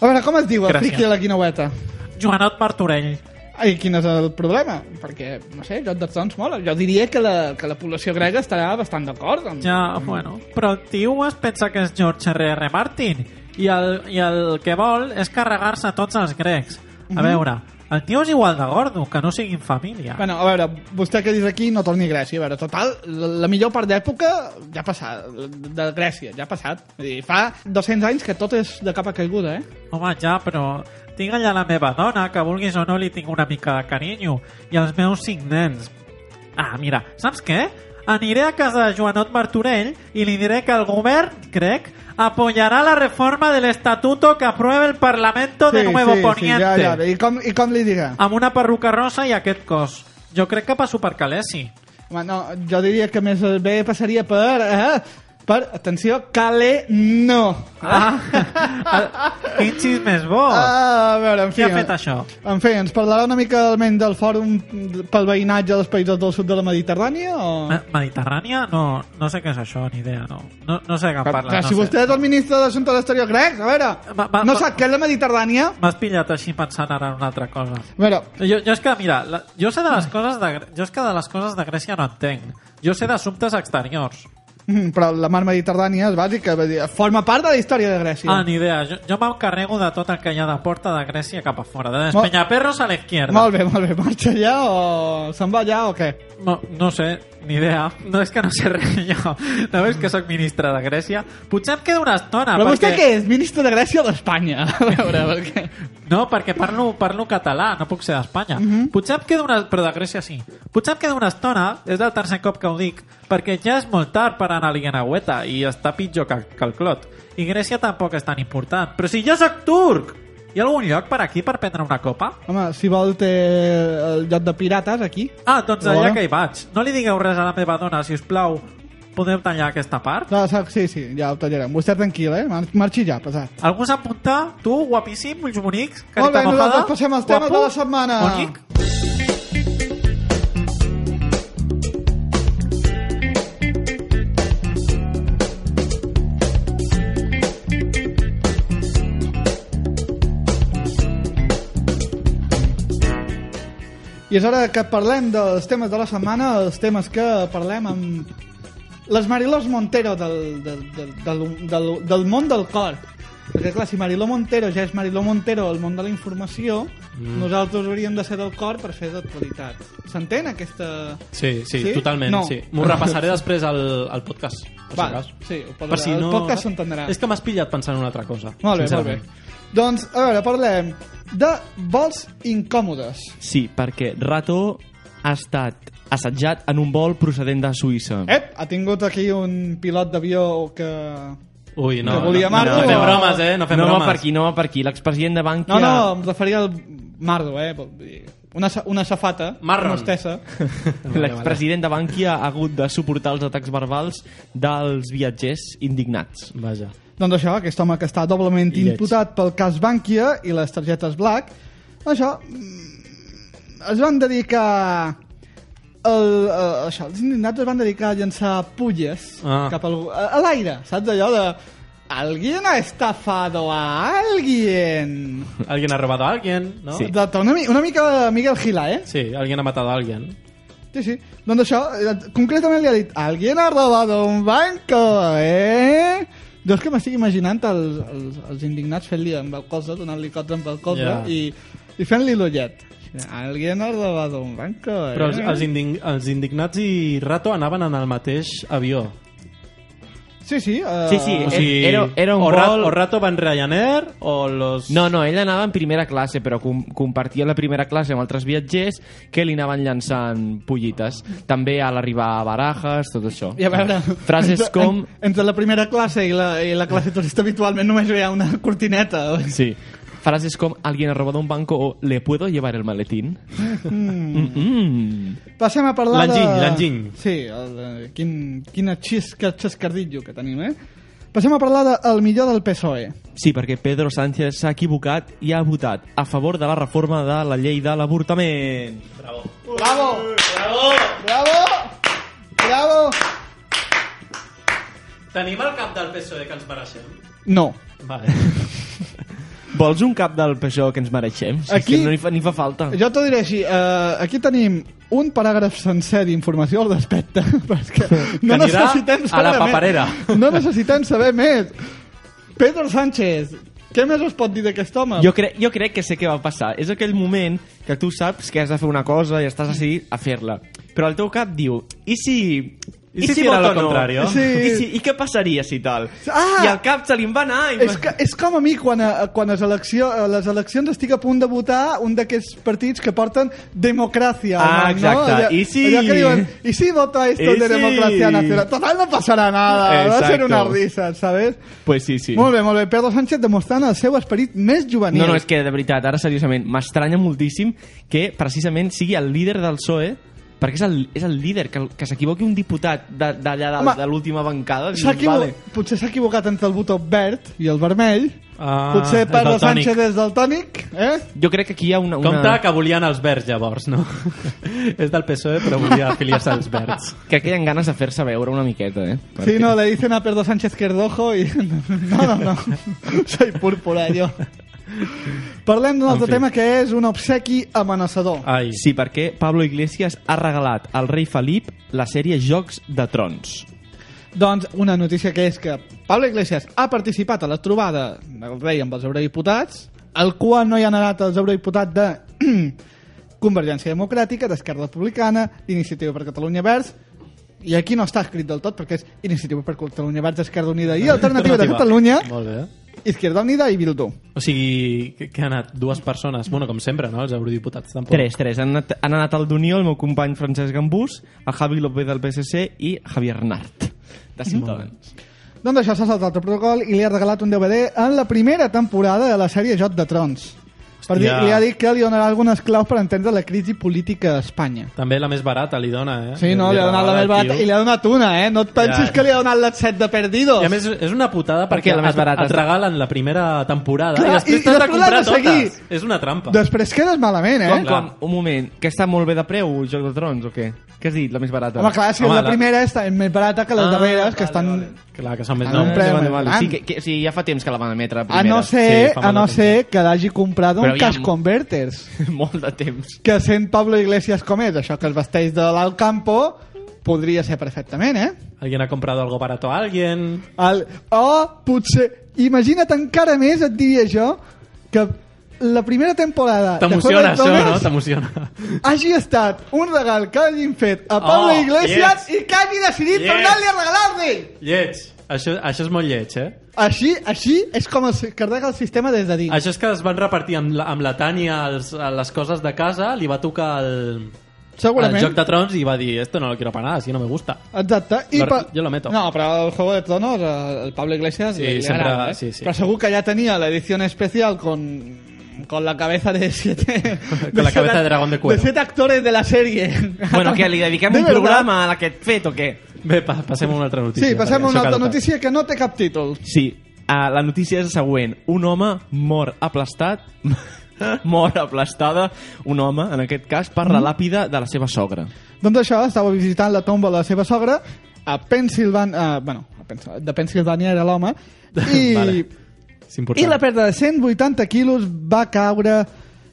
[SPEAKER 1] A veure, com es diu el
[SPEAKER 2] Gràcies.
[SPEAKER 1] friqui a la guineueta?
[SPEAKER 2] Joanot Martorell.
[SPEAKER 1] Ai, quin és el problema? Perquè, no sé, Joc dels Sons mola. Jo diria que la, que la població grega estarà bastant d'acord. Amb...
[SPEAKER 2] Ja, bueno. Però el tio es pensa que és George R.R. R.
[SPEAKER 1] Mhm.
[SPEAKER 2] Martin i el, i el que vol és carregar-se tots els grecs. A veure, El tio és igual de gordo, que no siguin família.
[SPEAKER 1] Bueno, a veure, vostè que dius aquí no torni a Grècia. A veure, total, la la millor part d'època ja ha passat, de Grècia, ja ha passat. Vull dir, fa 200 anys que tot és de capa caiguda, eh?
[SPEAKER 2] Home, ja, però tinc allà la meva dona, que vulguis o no li tinc una mica de carinyo, i els meus cinc nens. Ah, mira, saps què? Aniré a casa de Joanot Martorell i li diré que el govern, crec, apoyarà la reforma de l'estatuto que apruebe el Parlamento de Nuevo Poniente.
[SPEAKER 1] Sí, ja, ja. I com, i com li dirà?
[SPEAKER 2] Amb una perruca rosa i aquest cos. Jo crec que passo per Calesi.
[SPEAKER 1] Home, no, jo diria que més bé passaria per... Eh? Per, atenció, Cale no.
[SPEAKER 2] Ah, quin xis més bo.
[SPEAKER 1] Ah, a veure, en fi...
[SPEAKER 2] Oh. Qui ha fet això?
[SPEAKER 1] En fi, ens parlarà una mica almenys del fòrum pel veïnatge dels països del sud de la Mediterrània o...
[SPEAKER 2] Me- Mediterrània? No, no sé què és això, ni idea, no. No, no sé de què em
[SPEAKER 1] Clar,
[SPEAKER 2] parles.
[SPEAKER 1] clar,
[SPEAKER 2] no
[SPEAKER 1] Ah, si
[SPEAKER 2] sé.
[SPEAKER 1] vostè és el ministre d'Assumptes d'Exterior grec, a veure,
[SPEAKER 2] Va, va,
[SPEAKER 1] no
[SPEAKER 2] va.
[SPEAKER 1] sap què és la Mediterrània?
[SPEAKER 2] M'has pillat així pensant ara en una altra cosa.
[SPEAKER 1] A veure,
[SPEAKER 2] Jo, jo és que, mira, la, jo, sé de les coses de, Gre- jo és que de les coses de Grècia no entenc. Jo sé d'assumptes exteriors.
[SPEAKER 1] mm, però la mar Mediterrània és bàsica, vull dir, forma part de la història de Grècia.
[SPEAKER 2] Ah, ni idea. Jo, jo m'encarrego de tot el que hi ha de porta de Grècia cap a fora. De
[SPEAKER 1] Molt-
[SPEAKER 2] Penyaperros a la izquierda.
[SPEAKER 1] molt bé, molt bé, marxa allà o se'n va allà o què?
[SPEAKER 2] No, no sé, ni idea. No és que no sé res jo. No veus que sóc ministre de Grècia? Potser em queda una estona.
[SPEAKER 1] Però vostè
[SPEAKER 2] Ah, perquè...
[SPEAKER 1] què és? Ministre de Grècia o d'Espanya? A veure, perquè...
[SPEAKER 2] No, perquè parlo, parlo català, no puc ser d'Espanya. Mm
[SPEAKER 1] Mhm.
[SPEAKER 2] -hmm. Potser em queda una... Però de Grècia sí. Potser em queda una estona, és el tercer cop que ho dic, perquè ja és molt tard per anar a l'Iguenagüeta i està pitjor que, que el Clot. I Grècia tampoc és tan important. Però si jo sóc turc! Hi ha algun lloc per aquí per prendre una copa?
[SPEAKER 1] Home, si vol té el lloc de pirates aquí.
[SPEAKER 2] Ah, doncs
[SPEAKER 1] Hola.
[SPEAKER 2] allà que hi vaig. No li digueu res a la meva dona, si us plau. Podeu tallar aquesta part?
[SPEAKER 1] No, sap- sí, sí, ja ho tallarem. Vostè tranquil, eh? Mar- Marxi ja, pesat.
[SPEAKER 2] Algú s'apunta? Tu, guapíssim, ulls bonics,
[SPEAKER 1] Molt
[SPEAKER 2] carita
[SPEAKER 1] bé,
[SPEAKER 2] mofada,
[SPEAKER 1] nosaltres passem als temes de la setmana.
[SPEAKER 2] bonic.
[SPEAKER 1] I és hora que parlem dels temes de la setmana, els temes que parlem amb les Marilós Montero del, del, del, del, del, del món del cor. Perquè, clar, si Mariló Montero ja és Mariló Montero al món de la informació, mm. nosaltres hauríem de ser del cor per fer d'actualitat. S'entén aquesta...
[SPEAKER 8] Sí, sí,
[SPEAKER 1] Sí?
[SPEAKER 8] totalment.
[SPEAKER 1] No.
[SPEAKER 8] Sí. M'ho repassaré després al, al podcast. Per
[SPEAKER 1] Va,
[SPEAKER 8] si cas.
[SPEAKER 1] sí, ho podrà-
[SPEAKER 8] Per si
[SPEAKER 1] el
[SPEAKER 8] no...
[SPEAKER 1] podcast s'entendrà.
[SPEAKER 8] És que m'has pillat pensant en una altra cosa.
[SPEAKER 1] Molt bé, molt bé.
[SPEAKER 8] sincerament.
[SPEAKER 1] Doncs, a veure, parlem de vols incòmodes.
[SPEAKER 3] Sí, perquè Rato ha estat assetjat en un vol procedent de Suïssa.
[SPEAKER 1] Ep, ha tingut aquí un pilot d'avió que...
[SPEAKER 8] Ui, no.
[SPEAKER 1] Que volia
[SPEAKER 8] no,
[SPEAKER 1] Marco,
[SPEAKER 8] No, no fem
[SPEAKER 1] o-
[SPEAKER 8] bromes, eh? No fem
[SPEAKER 3] no va
[SPEAKER 8] bromes.
[SPEAKER 3] per aquí, no va per aquí. L'expresident de Bankia...
[SPEAKER 1] No, no, em referia al Mardo, eh? vol dir, Una, sa- una safata,
[SPEAKER 8] Marron.
[SPEAKER 1] una estesa.
[SPEAKER 3] L'expresident de Bankia ha hagut de suportar els atacs verbals dels viatgers indignats.
[SPEAKER 8] Vaja.
[SPEAKER 1] doncs això, aquest home que està doblement
[SPEAKER 8] I lleig.
[SPEAKER 1] imputat pel cas Bankia i les targetes Black, això, mm, es van dedicar... El, eh, això, els indignats es van dedicar a llançar pulles
[SPEAKER 8] Ah.
[SPEAKER 1] cap al, a, a l'aire, saps allò de... Alguien ha estafado a alguien.
[SPEAKER 8] Alguien ha robado a alguien, no?
[SPEAKER 3] Sí.
[SPEAKER 1] Exacte, una, mi- una mica de Miguel Gila, eh?
[SPEAKER 8] Sí, alguien ha matado a alguien.
[SPEAKER 1] Sí, sí. Doncs això, eh, concretament li ha dit Alguien ha robado un banco, eh? Jo és que m'estic imaginant els, els, els indignats fent-li amb el colze, donant-li cops amb el colze
[SPEAKER 8] Ja.
[SPEAKER 1] i, i fent-li l'ullet. Alguien ha robado un banco, eh?
[SPEAKER 8] Però els, els, indign els indignats i Rato anaven en el mateix avió.
[SPEAKER 1] Sí, sí. Uh...
[SPEAKER 3] Sí, sí,
[SPEAKER 8] O
[SPEAKER 3] Eh,
[SPEAKER 8] sigui,
[SPEAKER 3] era- era un
[SPEAKER 8] o, Ra-
[SPEAKER 3] vol-
[SPEAKER 8] o Rato va en Ryanair o los...
[SPEAKER 3] No, no, ell anava en primera classe, però com compartia la primera classe amb altres viatgers que li anaven llançant pollites. També a l'arribar a Barajas, tot això.
[SPEAKER 1] I a veure...
[SPEAKER 3] Frases
[SPEAKER 1] entre-
[SPEAKER 3] com...
[SPEAKER 1] en- Entre la primera classe i la, i la classe turista habitualment només hi ha una cortineta.
[SPEAKER 3] Sí. Frases com alguien ha robado un banco o le puedo llevar el maletín. Mm. Mm
[SPEAKER 1] Passem a parlar
[SPEAKER 8] L'enginy,
[SPEAKER 1] de...
[SPEAKER 8] l'enginy.
[SPEAKER 1] Sí, el, eh, quin, quina xisca, xescardillo que tenim, eh? Passem a parlar de el millor del PSOE.
[SPEAKER 3] Sí, perquè Pedro Sánchez s'ha equivocat i ha votat a favor de la reforma de la llei de l'avortament.
[SPEAKER 1] Bravo! Bravo! Bravo! Bravo!
[SPEAKER 8] Tenim el cap del PSOE E que ens mereixem?
[SPEAKER 1] No.
[SPEAKER 8] Vale.
[SPEAKER 3] Vols un cap del PSOE que ens mereixem? Si
[SPEAKER 1] Aquí-
[SPEAKER 3] Aquí... no, ni fa, ni fa falta.
[SPEAKER 1] Jo t'ho diré així. Uh, aquí tenim un paràgraf sencer d'informació al respecte, perquè no
[SPEAKER 8] Que anirà
[SPEAKER 1] necessitem
[SPEAKER 8] a la
[SPEAKER 1] saber
[SPEAKER 8] paperera.
[SPEAKER 1] més. No necessitem saber més. Pedro Sánchez, Què més us pot dir d'aquest home?
[SPEAKER 3] Jo, cre jo crec que sé què va passar. És aquell moment que tu saps que has de fer una cosa i estàs decidit a fer-la. Però el teu cap diu, i si...
[SPEAKER 2] I si tira
[SPEAKER 3] voto
[SPEAKER 2] lo contrario?
[SPEAKER 3] No?
[SPEAKER 1] Sí.
[SPEAKER 3] I, si, I què passaria si tal?
[SPEAKER 1] Ah!
[SPEAKER 3] I el cap se li en va anar i...
[SPEAKER 1] És, que, és com a mi quan, a, quan a, elecció, a les eleccions estic a punt de votar un d'aquests partits que porten democràcia.
[SPEAKER 3] Ah,
[SPEAKER 1] home,
[SPEAKER 3] exacte.
[SPEAKER 1] No? Allà,
[SPEAKER 3] I si-
[SPEAKER 1] Allà que diuen, i si voto a esto
[SPEAKER 3] I
[SPEAKER 1] de
[SPEAKER 3] si-
[SPEAKER 1] democracia nacional. Total, no passarà nada. Exacto. Va
[SPEAKER 3] Exacto.
[SPEAKER 1] ser una risa, ¿sabes?
[SPEAKER 3] Pues sí, sí.
[SPEAKER 1] Sí. Molt bé, molt bé. Pedro Sánchez demostrant el seu esperit més juvenil.
[SPEAKER 3] No, no, és que de veritat, ara seriosament, m'estranya moltíssim que precisament sigui el líder del PSOE perquè és el, és el líder, que, que s'equivoqui un diputat de- d'allà de,
[SPEAKER 1] Home,
[SPEAKER 3] de l'última bancada. dius,
[SPEAKER 1] S'ha equivo...
[SPEAKER 3] Vale.
[SPEAKER 1] Potser s'ha equivocat entre el botó verd i el vermell.
[SPEAKER 2] Ah,
[SPEAKER 1] Potser
[SPEAKER 2] és
[SPEAKER 1] Pedro
[SPEAKER 2] el tònic.
[SPEAKER 1] Sánchez és del tònic, eh?
[SPEAKER 3] Jo crec que aquí hi ha una... una...
[SPEAKER 2] Compte que volien els verds, llavors, no? és del PSOE, però volia afiliar-se als verds.
[SPEAKER 3] que queden ganes de fer-se veure una miqueta, eh?
[SPEAKER 1] Sí, no, le dicen a Pedro Sánchez que es rojo y... No, no, no. Soy púrpura, jo. Parlem d'un
[SPEAKER 3] En
[SPEAKER 1] altre
[SPEAKER 3] fi.
[SPEAKER 1] tema que és un obsequi amenaçador. Ah.
[SPEAKER 2] Ai,
[SPEAKER 3] Sí, perquè Pablo Iglesias ha regalat al rei Felip la sèrie Jocs de Trons.
[SPEAKER 1] Doncs una notícia que és que Pablo Iglesias ha participat a la trobada del rei amb els eurodiputats, al qual no hi han anat els eurodiputats de Convergència Democràtica, d'Esquerra Republicana, d'Iniciativa per Catalunya Verds, i aquí no està escrit del tot perquè és Iniciativa per Catalunya Verds, Esquerra Unida i Alternativa de Catalunya,
[SPEAKER 2] Molt bé.
[SPEAKER 1] Izquierda Unida i Bildu.
[SPEAKER 2] O sigui, que, que han anat dues persones. Bueno, com sempre, no? Els eurodiputats tampoc.
[SPEAKER 3] Tres, tres. Han anat, han anat al d'Unió el meu company Francesc Gambús, el Javi López del PSC i Javier Nart, de Ciutadans.
[SPEAKER 1] Doncs això s'ha saltat el protocol i li ha regalat un DVD en la primera temporada de la sèrie Jot de Trons. Per dir,
[SPEAKER 2] Hòstia.
[SPEAKER 1] li ha dit que li donarà algunes claus per entendre la crisi política a Espanya.
[SPEAKER 2] També la més barata li dona, eh?
[SPEAKER 1] Sí, no, li ha donat la més barata i li ha donat una, eh? No et pensis
[SPEAKER 2] Ja.
[SPEAKER 1] que li ha donat les set de perdidos.
[SPEAKER 2] I a més és una putada
[SPEAKER 3] Per
[SPEAKER 2] perquè
[SPEAKER 3] què la més
[SPEAKER 2] et-
[SPEAKER 3] barata?
[SPEAKER 2] et regalen la primera temporada
[SPEAKER 1] Clar,
[SPEAKER 2] i
[SPEAKER 1] i-
[SPEAKER 2] després
[SPEAKER 1] i
[SPEAKER 2] t'has de
[SPEAKER 1] després l'has
[SPEAKER 2] comprar
[SPEAKER 1] de seguir.
[SPEAKER 2] totes. És una trampa.
[SPEAKER 1] Després quedes malament, eh?
[SPEAKER 3] Com,
[SPEAKER 1] Com,
[SPEAKER 3] com, un moment, que està molt bé de preu, Joc de Trons, o què? Què has dit, la més barata?
[SPEAKER 1] Home, clar, si
[SPEAKER 2] Home,
[SPEAKER 1] Home, la
[SPEAKER 2] la-
[SPEAKER 1] primera està més barata que les
[SPEAKER 2] Ah,
[SPEAKER 1] darreres, que
[SPEAKER 2] vale,
[SPEAKER 1] estan...
[SPEAKER 2] vale. Clar, que són més
[SPEAKER 1] Ah,
[SPEAKER 3] No,
[SPEAKER 2] noms.
[SPEAKER 1] un preu
[SPEAKER 3] vale, vale.
[SPEAKER 1] important.
[SPEAKER 3] Sí, que, que, sí, ja fa temps que la van emetre, la
[SPEAKER 1] A
[SPEAKER 3] primera.
[SPEAKER 1] no
[SPEAKER 2] Sí,
[SPEAKER 1] ser,
[SPEAKER 2] fa
[SPEAKER 1] a
[SPEAKER 2] molt
[SPEAKER 1] no
[SPEAKER 2] de temps.
[SPEAKER 1] ser que l'hagi comprat un
[SPEAKER 3] Però hi ha-
[SPEAKER 1] cash converters.
[SPEAKER 3] molt de temps.
[SPEAKER 1] Que sent Pablo Iglesias com és, això que es vesteix de l'alt campo, podria ser perfectament, eh?
[SPEAKER 2] Alguien ha comprado algo barato a alguien.
[SPEAKER 1] El, o potser... Imagina't encara més, et diria jo, que la primera temporada de
[SPEAKER 2] T'emociona
[SPEAKER 1] Juego
[SPEAKER 2] això,
[SPEAKER 1] de
[SPEAKER 2] no?
[SPEAKER 1] Tronos
[SPEAKER 2] T'emociona.
[SPEAKER 1] hagi estat un regal que hagin fet a Pablo
[SPEAKER 2] Oh,
[SPEAKER 1] Iglesias
[SPEAKER 2] yes.
[SPEAKER 1] i que hagi decidit
[SPEAKER 2] Yes.
[SPEAKER 1] tornar-li a regalar-li.
[SPEAKER 2] Lleig. Això, això és molt lleig, eh?
[SPEAKER 1] Així, així és com es carrega el sistema des de dins.
[SPEAKER 2] Això és que es van repartir amb la, amb la Tània els, les coses de casa, li va tocar el, el
[SPEAKER 1] Segurament.
[SPEAKER 2] Joc de Trons i va dir esto no lo quiero para nada, si no me gusta.
[SPEAKER 1] Exacte.
[SPEAKER 2] Lo-
[SPEAKER 1] pa-
[SPEAKER 2] jo lo meto.
[SPEAKER 1] No, però el Juego de Tronos, eh, el Pablo Iglesias,
[SPEAKER 2] Sí,
[SPEAKER 1] le- le
[SPEAKER 2] sempre-
[SPEAKER 1] agrada, eh?
[SPEAKER 2] sí, sí.
[SPEAKER 1] Però segur que ja tenia l'edició especial con, con la cabeza de siete...
[SPEAKER 2] Con la
[SPEAKER 1] siete
[SPEAKER 2] cabeza de
[SPEAKER 1] act-
[SPEAKER 2] dragón de cuero.
[SPEAKER 1] De siete actores de la serie.
[SPEAKER 3] Bueno, que li dediquem
[SPEAKER 1] De
[SPEAKER 3] un
[SPEAKER 1] verdad.
[SPEAKER 3] programa a aquest fet o què?
[SPEAKER 2] Bé, pa, passem a una altra notícia.
[SPEAKER 1] Sí, passem a
[SPEAKER 2] perquè
[SPEAKER 1] una
[SPEAKER 2] això
[SPEAKER 1] altra
[SPEAKER 2] cal-
[SPEAKER 1] notícia que no té cap títol.
[SPEAKER 3] Sí, uh, la notícia és la següent. Un home mor aplastat, mor aplastada, un home, en aquest cas, per
[SPEAKER 1] Mm-hmm.
[SPEAKER 3] la làpida de la seva sogra.
[SPEAKER 1] Doncs això, estava visitant la tomba de la seva sogra a Pensilvània... Uh, bueno, a Pensil, de Pensilvània era l'home. I,
[SPEAKER 2] Vale. És
[SPEAKER 1] I
[SPEAKER 2] important.
[SPEAKER 1] la perda de 180 quilos va caure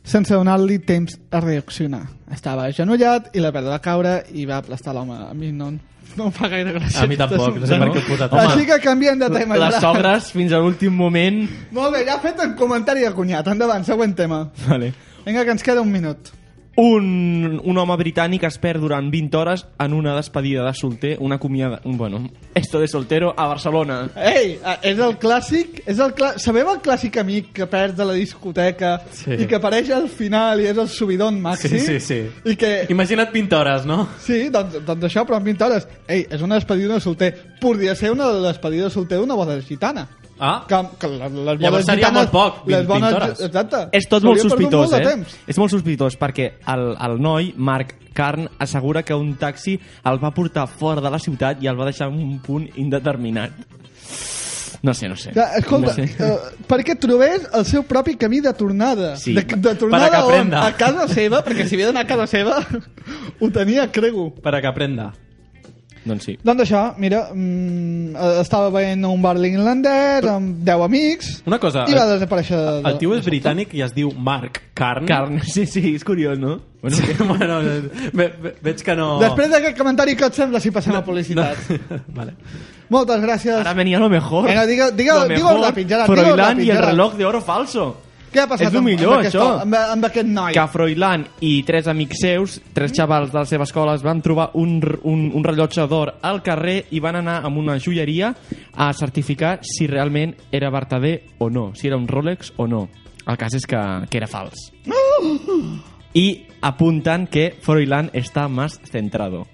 [SPEAKER 1] sense donar-li temps a reaccionar. Estava agenollat i la perda va caure i va aplastar l'home. A mi no, no em fa gaire gràcia.
[SPEAKER 2] A mi
[SPEAKER 1] aquest
[SPEAKER 2] tampoc, no sé
[SPEAKER 1] assumpte.
[SPEAKER 2] per què he posat.
[SPEAKER 1] Així que canviem de tema.
[SPEAKER 3] Les
[SPEAKER 1] ja.
[SPEAKER 3] sogres, fins a l'últim moment...
[SPEAKER 1] Molt bé, ja ha fet el comentari de cunyat. Endavant, següent tema.
[SPEAKER 3] Vale.
[SPEAKER 1] Vinga, que ens queda un minut.
[SPEAKER 3] Un, un home britànic es perd durant 20 hores en una despedida de solter, una comiada... un- Bueno, esto de soltero a Barcelona.
[SPEAKER 1] Ei, eh, és el clàssic... És el clà... Sabeu el clàssic amic que perds a la discoteca
[SPEAKER 2] Sí.
[SPEAKER 1] i que apareix al final i és el subidon màxim?
[SPEAKER 2] Sí, sí, sí.
[SPEAKER 1] I que...
[SPEAKER 2] Imagina't 20 hores, no?
[SPEAKER 1] Sí, doncs, doncs això, però en 20 hores. Ei, és una despedida de solter. Podria ser una despedida de solter d'una boda gitana.
[SPEAKER 2] Ah,
[SPEAKER 1] Que, que les, les
[SPEAKER 2] Llavors
[SPEAKER 1] bodes
[SPEAKER 2] seria
[SPEAKER 1] gitanes,
[SPEAKER 2] molt poc, 20
[SPEAKER 1] bones,
[SPEAKER 2] hores.
[SPEAKER 1] Exacte.
[SPEAKER 3] És tot molt
[SPEAKER 1] S'hauria perdut
[SPEAKER 3] sospitós,
[SPEAKER 1] molt de
[SPEAKER 3] eh?
[SPEAKER 1] Temps.
[SPEAKER 3] És molt sospitós perquè el, el noi, Marc Carn, assegura que un taxi el va portar fora de la ciutat i el va deixar en un punt indeterminat. No sé, no sé.
[SPEAKER 1] Ja, escolta,
[SPEAKER 3] No sé.
[SPEAKER 1] eh, perquè trobés el seu propi camí de tornada.
[SPEAKER 3] Sí,
[SPEAKER 1] de, de
[SPEAKER 2] per a que
[SPEAKER 1] tornada on?
[SPEAKER 2] aprenda.
[SPEAKER 1] A casa seva, perquè si havia d'anar a casa seva, ho tenia, crego.
[SPEAKER 2] per a que aprenda.
[SPEAKER 3] Doncs sí.
[SPEAKER 1] Doncs això, mira, mm, eh, estava veient un bar irlandès amb 10 amics
[SPEAKER 2] Una cosa,
[SPEAKER 1] i va
[SPEAKER 2] el-
[SPEAKER 1] desaparèixer... de-
[SPEAKER 2] El tio és britànic i es diu Mark Carn.
[SPEAKER 3] Carn, sí, sí, és curiós, no?
[SPEAKER 2] Bueno, sí, bueno, ve, ve, veig que no...
[SPEAKER 1] Després d'aquest comentari, què et sembla si passem a publicitat?
[SPEAKER 2] No. vale.
[SPEAKER 1] Moltes gràcies.
[SPEAKER 3] Ara venia lo mejor.
[SPEAKER 1] Vinga, digue- digue-
[SPEAKER 3] Lo
[SPEAKER 1] digue-ho ràpid, Gerard, digue-ho
[SPEAKER 3] Froilán
[SPEAKER 1] ràpid,
[SPEAKER 3] i el
[SPEAKER 1] Gerard.
[SPEAKER 3] reloj d'oro falso.
[SPEAKER 1] Què ha passat
[SPEAKER 3] És lo
[SPEAKER 1] amb,
[SPEAKER 3] millor,
[SPEAKER 1] amb, aquest,
[SPEAKER 3] això.
[SPEAKER 1] amb, amb aquest noi?
[SPEAKER 3] que Froilán i tres amics seus, tres xavals de la seva escola, es van trobar un, r- un, un rellotge d'or al carrer i van anar a una joieria a certificar si realment era verdader o no, si era un Rolex o no. El cas és que, que era fals. I apuntan que Froilán està más centrado,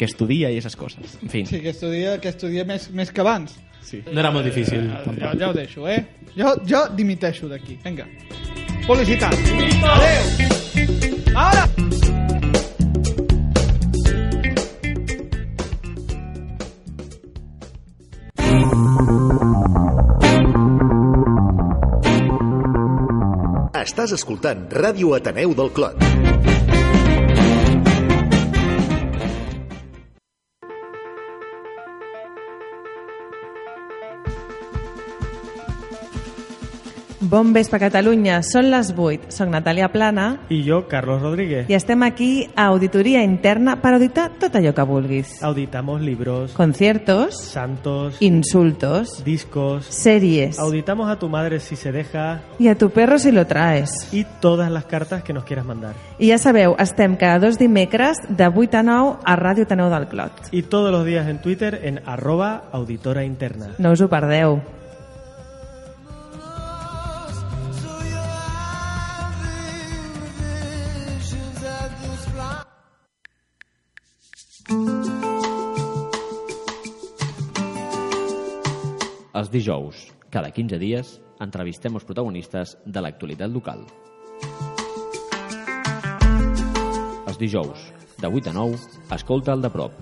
[SPEAKER 3] que estudia i esas coses. En fin.
[SPEAKER 1] Sí, que estudia, que estudia més, més que abans.
[SPEAKER 2] No era molt difícil.
[SPEAKER 1] Jo, ja ho deixo, eh? Jo, jo dimiteixo d'aquí. Vinga. Publicitat. Adéu. Ara!
[SPEAKER 4] Estàs escoltant Ràdio Ateneu del Clot.
[SPEAKER 9] Bon vespre, Catalunya. Són les 8. Soc Natàlia Plana
[SPEAKER 10] I jo, Carlos Rodríguez.
[SPEAKER 9] i estem aquí a Auditoria Interna per auditar tot allò que vulguis.
[SPEAKER 10] Auditamos libros,
[SPEAKER 9] Conciertos,
[SPEAKER 10] santos,
[SPEAKER 9] insultos,
[SPEAKER 10] discos.
[SPEAKER 9] series
[SPEAKER 10] Auditamos a tu madre si se deja
[SPEAKER 9] i a tu perro si lo traes.
[SPEAKER 10] y todas las cartas que nos quieras mandar.
[SPEAKER 9] I ja sabeu, estem cada dos dimecres de 8 a 9 a Ràdio Taneu del Clot.
[SPEAKER 10] Y todos los días en Twitter en arroba auditora interna.
[SPEAKER 9] No us ho perdeu.
[SPEAKER 11] Els dijous, cada 15 dies, entrevistem els protagonistes de l'actualitat local. Els dijous, de 8 a 9, escolta el de prop.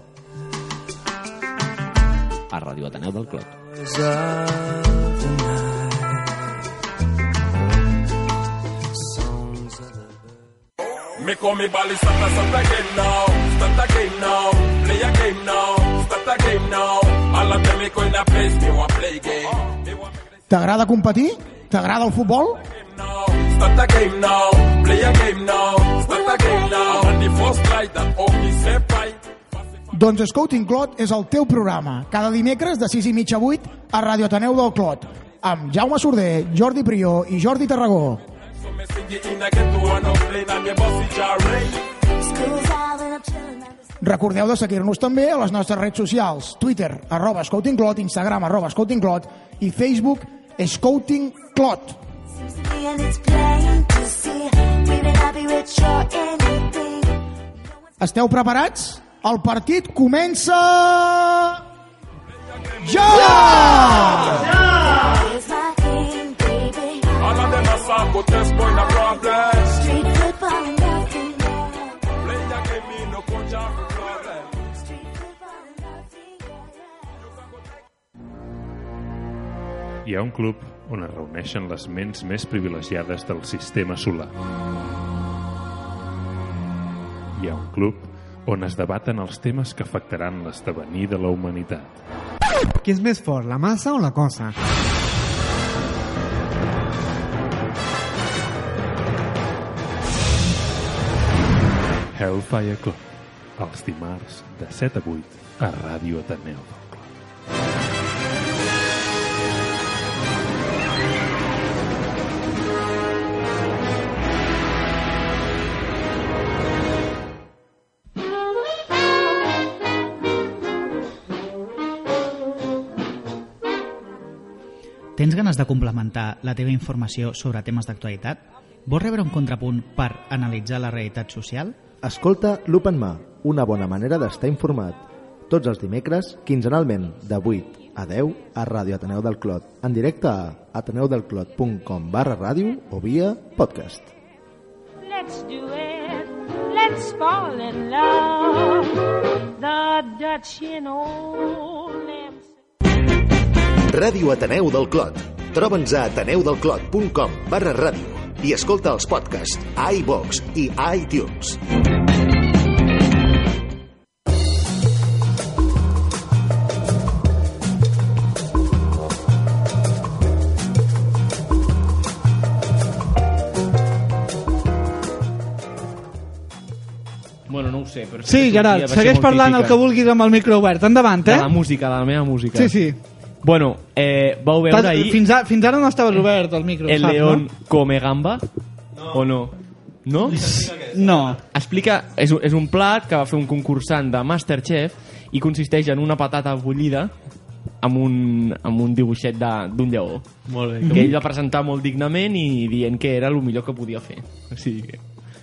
[SPEAKER 11] A Ràdio Ateneu del Clot.
[SPEAKER 4] Me call me Bali, start a start a game now, start a game now, play a game now, start a game now. All of them me going to place, they want play game. They want
[SPEAKER 12] T'agrada competir? T'agrada el futbol?
[SPEAKER 4] game now, start a game now, play a game now, start a game now. And the first light that only separate.
[SPEAKER 12] Doncs Scouting Clot és el teu programa, cada dimecres de 6 i mitja a 8 a Radio Ateneu del Clot, amb Jaume Sorder, Jordi Prió i Jordi Tarragó.
[SPEAKER 4] So me sing it in, I get to one of plane and me bust it jarring.
[SPEAKER 12] Recordeu de seguir-nos també a les nostres redes socials, Twitter, arroba Scouting Clot, Instagram, arroba Scouting Clot i Facebook, Scouting Clot. Esteu preparats? El partit comença... Ja! ja!
[SPEAKER 4] All of them are soccer, test boy, no problem. Play a game, me no coach, I have a problem.
[SPEAKER 11] Hi ha un club on es reuneixen les ments més privilegiades del sistema solar. Hi ha un club on es debaten els temes que afectaran l'esdevenir de la humanitat.
[SPEAKER 10] ¿Qué es más for, la masa o la cosa?
[SPEAKER 11] Hellfire Club, els dimarts de 7 a 8 a Ràdio Ateneu del Clot.
[SPEAKER 10] Tens ganes de complementar la teva informació sobre temes d'actualitat? Vols rebre un contrapunt per analitzar la realitat social?
[SPEAKER 4] Escolta l'Openma, una bona manera d'estar informat. Tots els dimecres, quinzenalment, de 8 a 10 a Ràdio Ateneu del Clot, en directe a ateneudelclot.com barra ràdio o via podcast.
[SPEAKER 9] Let's do it. Let's fall in love. The Dutch in old
[SPEAKER 4] Ràdio Ateneu del Clot. Troba'ns a ateneudelclot.com barra ràdio i escolta els podcasts a iVox i a iTunes.
[SPEAKER 3] Bueno, no ho sé, però...
[SPEAKER 1] Sí, Gerard, segueix parlant el que vulguis amb el micro obert. Endavant,
[SPEAKER 3] De
[SPEAKER 1] eh?
[SPEAKER 3] la música, de la meva música.
[SPEAKER 1] Sí, sí.
[SPEAKER 3] Bueno, eh, vau veure
[SPEAKER 1] T'has-
[SPEAKER 3] ahir
[SPEAKER 1] Fins, a, fins ara no estaves obert el micro,
[SPEAKER 3] El
[SPEAKER 1] saps,
[SPEAKER 3] León come gamba? O no? No?
[SPEAKER 1] No.
[SPEAKER 3] Explica, és, un- és un plat que va fer un concursant de Masterchef i consisteix en una patata bullida amb un, amb un dibuixet de- d'un lleó.
[SPEAKER 2] Molt bé, que
[SPEAKER 3] Que ell
[SPEAKER 2] bonic.
[SPEAKER 3] va presentar molt dignament i dient que era el millor que podia fer. O sigui que...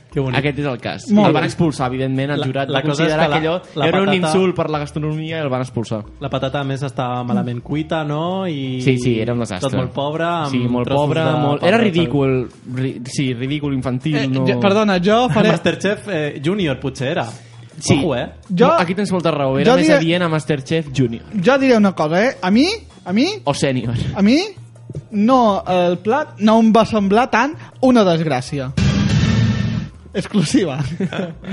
[SPEAKER 2] Que bonic.
[SPEAKER 3] Aquest és el cas.
[SPEAKER 2] Molt
[SPEAKER 3] el van
[SPEAKER 2] bé.
[SPEAKER 3] expulsar, evidentment, el
[SPEAKER 2] La-
[SPEAKER 3] jurat
[SPEAKER 2] la
[SPEAKER 3] va
[SPEAKER 2] cosa és
[SPEAKER 3] considerar
[SPEAKER 2] que la-
[SPEAKER 3] que, allò
[SPEAKER 2] la
[SPEAKER 3] era un
[SPEAKER 2] patata-
[SPEAKER 3] insult per la gastronomia i el van expulsar.
[SPEAKER 2] La patata, a més, estava malament cuita, no? I
[SPEAKER 3] Sí, sí, era un desastre.
[SPEAKER 2] Tot molt pobre. Amb
[SPEAKER 3] sí, molt
[SPEAKER 2] trossos
[SPEAKER 3] pobre,
[SPEAKER 2] de
[SPEAKER 3] molt...
[SPEAKER 2] pa
[SPEAKER 3] Era
[SPEAKER 2] de-
[SPEAKER 3] ridícul. Ri... Sí, ridícul infantil.
[SPEAKER 2] Eh,
[SPEAKER 3] no...
[SPEAKER 2] jo- perdona,
[SPEAKER 1] jo
[SPEAKER 2] faré... Masterchef eh, Junior, potser era.
[SPEAKER 3] Sí.
[SPEAKER 2] Ojo, eh?
[SPEAKER 3] Jo... Aquí tens molta raó. Era
[SPEAKER 1] jo
[SPEAKER 3] més
[SPEAKER 1] diria-
[SPEAKER 3] adient a Masterchef Junior.
[SPEAKER 1] no? Jo diré una cosa, eh? A mi, a mi,
[SPEAKER 3] O Senior.
[SPEAKER 1] a mi, no, el plat no em va semblar tant una desgràcia. Exclusiva.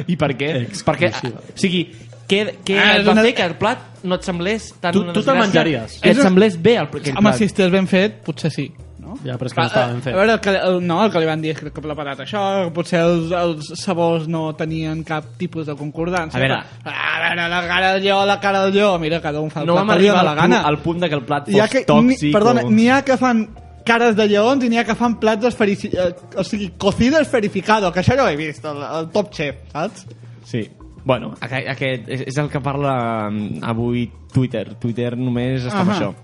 [SPEAKER 3] I per què? Perquè, ah, o sigui, què, què
[SPEAKER 1] Ah,
[SPEAKER 3] et va
[SPEAKER 1] una-
[SPEAKER 3] fer que el plat no et semblés tan
[SPEAKER 1] Tu-
[SPEAKER 3] una
[SPEAKER 1] tu te'l
[SPEAKER 3] desgràcia?
[SPEAKER 1] menjaries.
[SPEAKER 3] Que
[SPEAKER 1] És
[SPEAKER 3] et
[SPEAKER 1] un-
[SPEAKER 3] semblés bé el, aquell
[SPEAKER 1] Home,
[SPEAKER 3] plat.
[SPEAKER 1] si estigués ben fet, potser sí. No?
[SPEAKER 2] Ja, però és
[SPEAKER 1] Va, eh, A veure, el que, el, no, el que li van dir és que per la patata això, que potser els, els sabors no tenien cap tipus de concordància.
[SPEAKER 3] A veure.
[SPEAKER 1] però, a veure, Ah, la cara del lleó, la cara del lleó, mira, cada un fa el
[SPEAKER 3] no
[SPEAKER 1] plat
[SPEAKER 3] vam
[SPEAKER 1] que li
[SPEAKER 3] arribar
[SPEAKER 1] dóna
[SPEAKER 3] al,
[SPEAKER 1] la gana.
[SPEAKER 3] punt, al punt de que el plat
[SPEAKER 1] Hi ha
[SPEAKER 3] fos
[SPEAKER 1] que, ni,
[SPEAKER 3] tòxic
[SPEAKER 1] perdona,
[SPEAKER 3] o...
[SPEAKER 1] n'hi ha que fan cares de lleons i n'hi ha que fan plats esferici... Eh, o sigui, cocido esferificado, que això ja ho he vist, el, el top chef, saps?
[SPEAKER 3] Sí. Bueno, aqu- aquest és, és el que parla mm, avui Twitter. Twitter només està amb
[SPEAKER 1] Ahà.
[SPEAKER 3] això.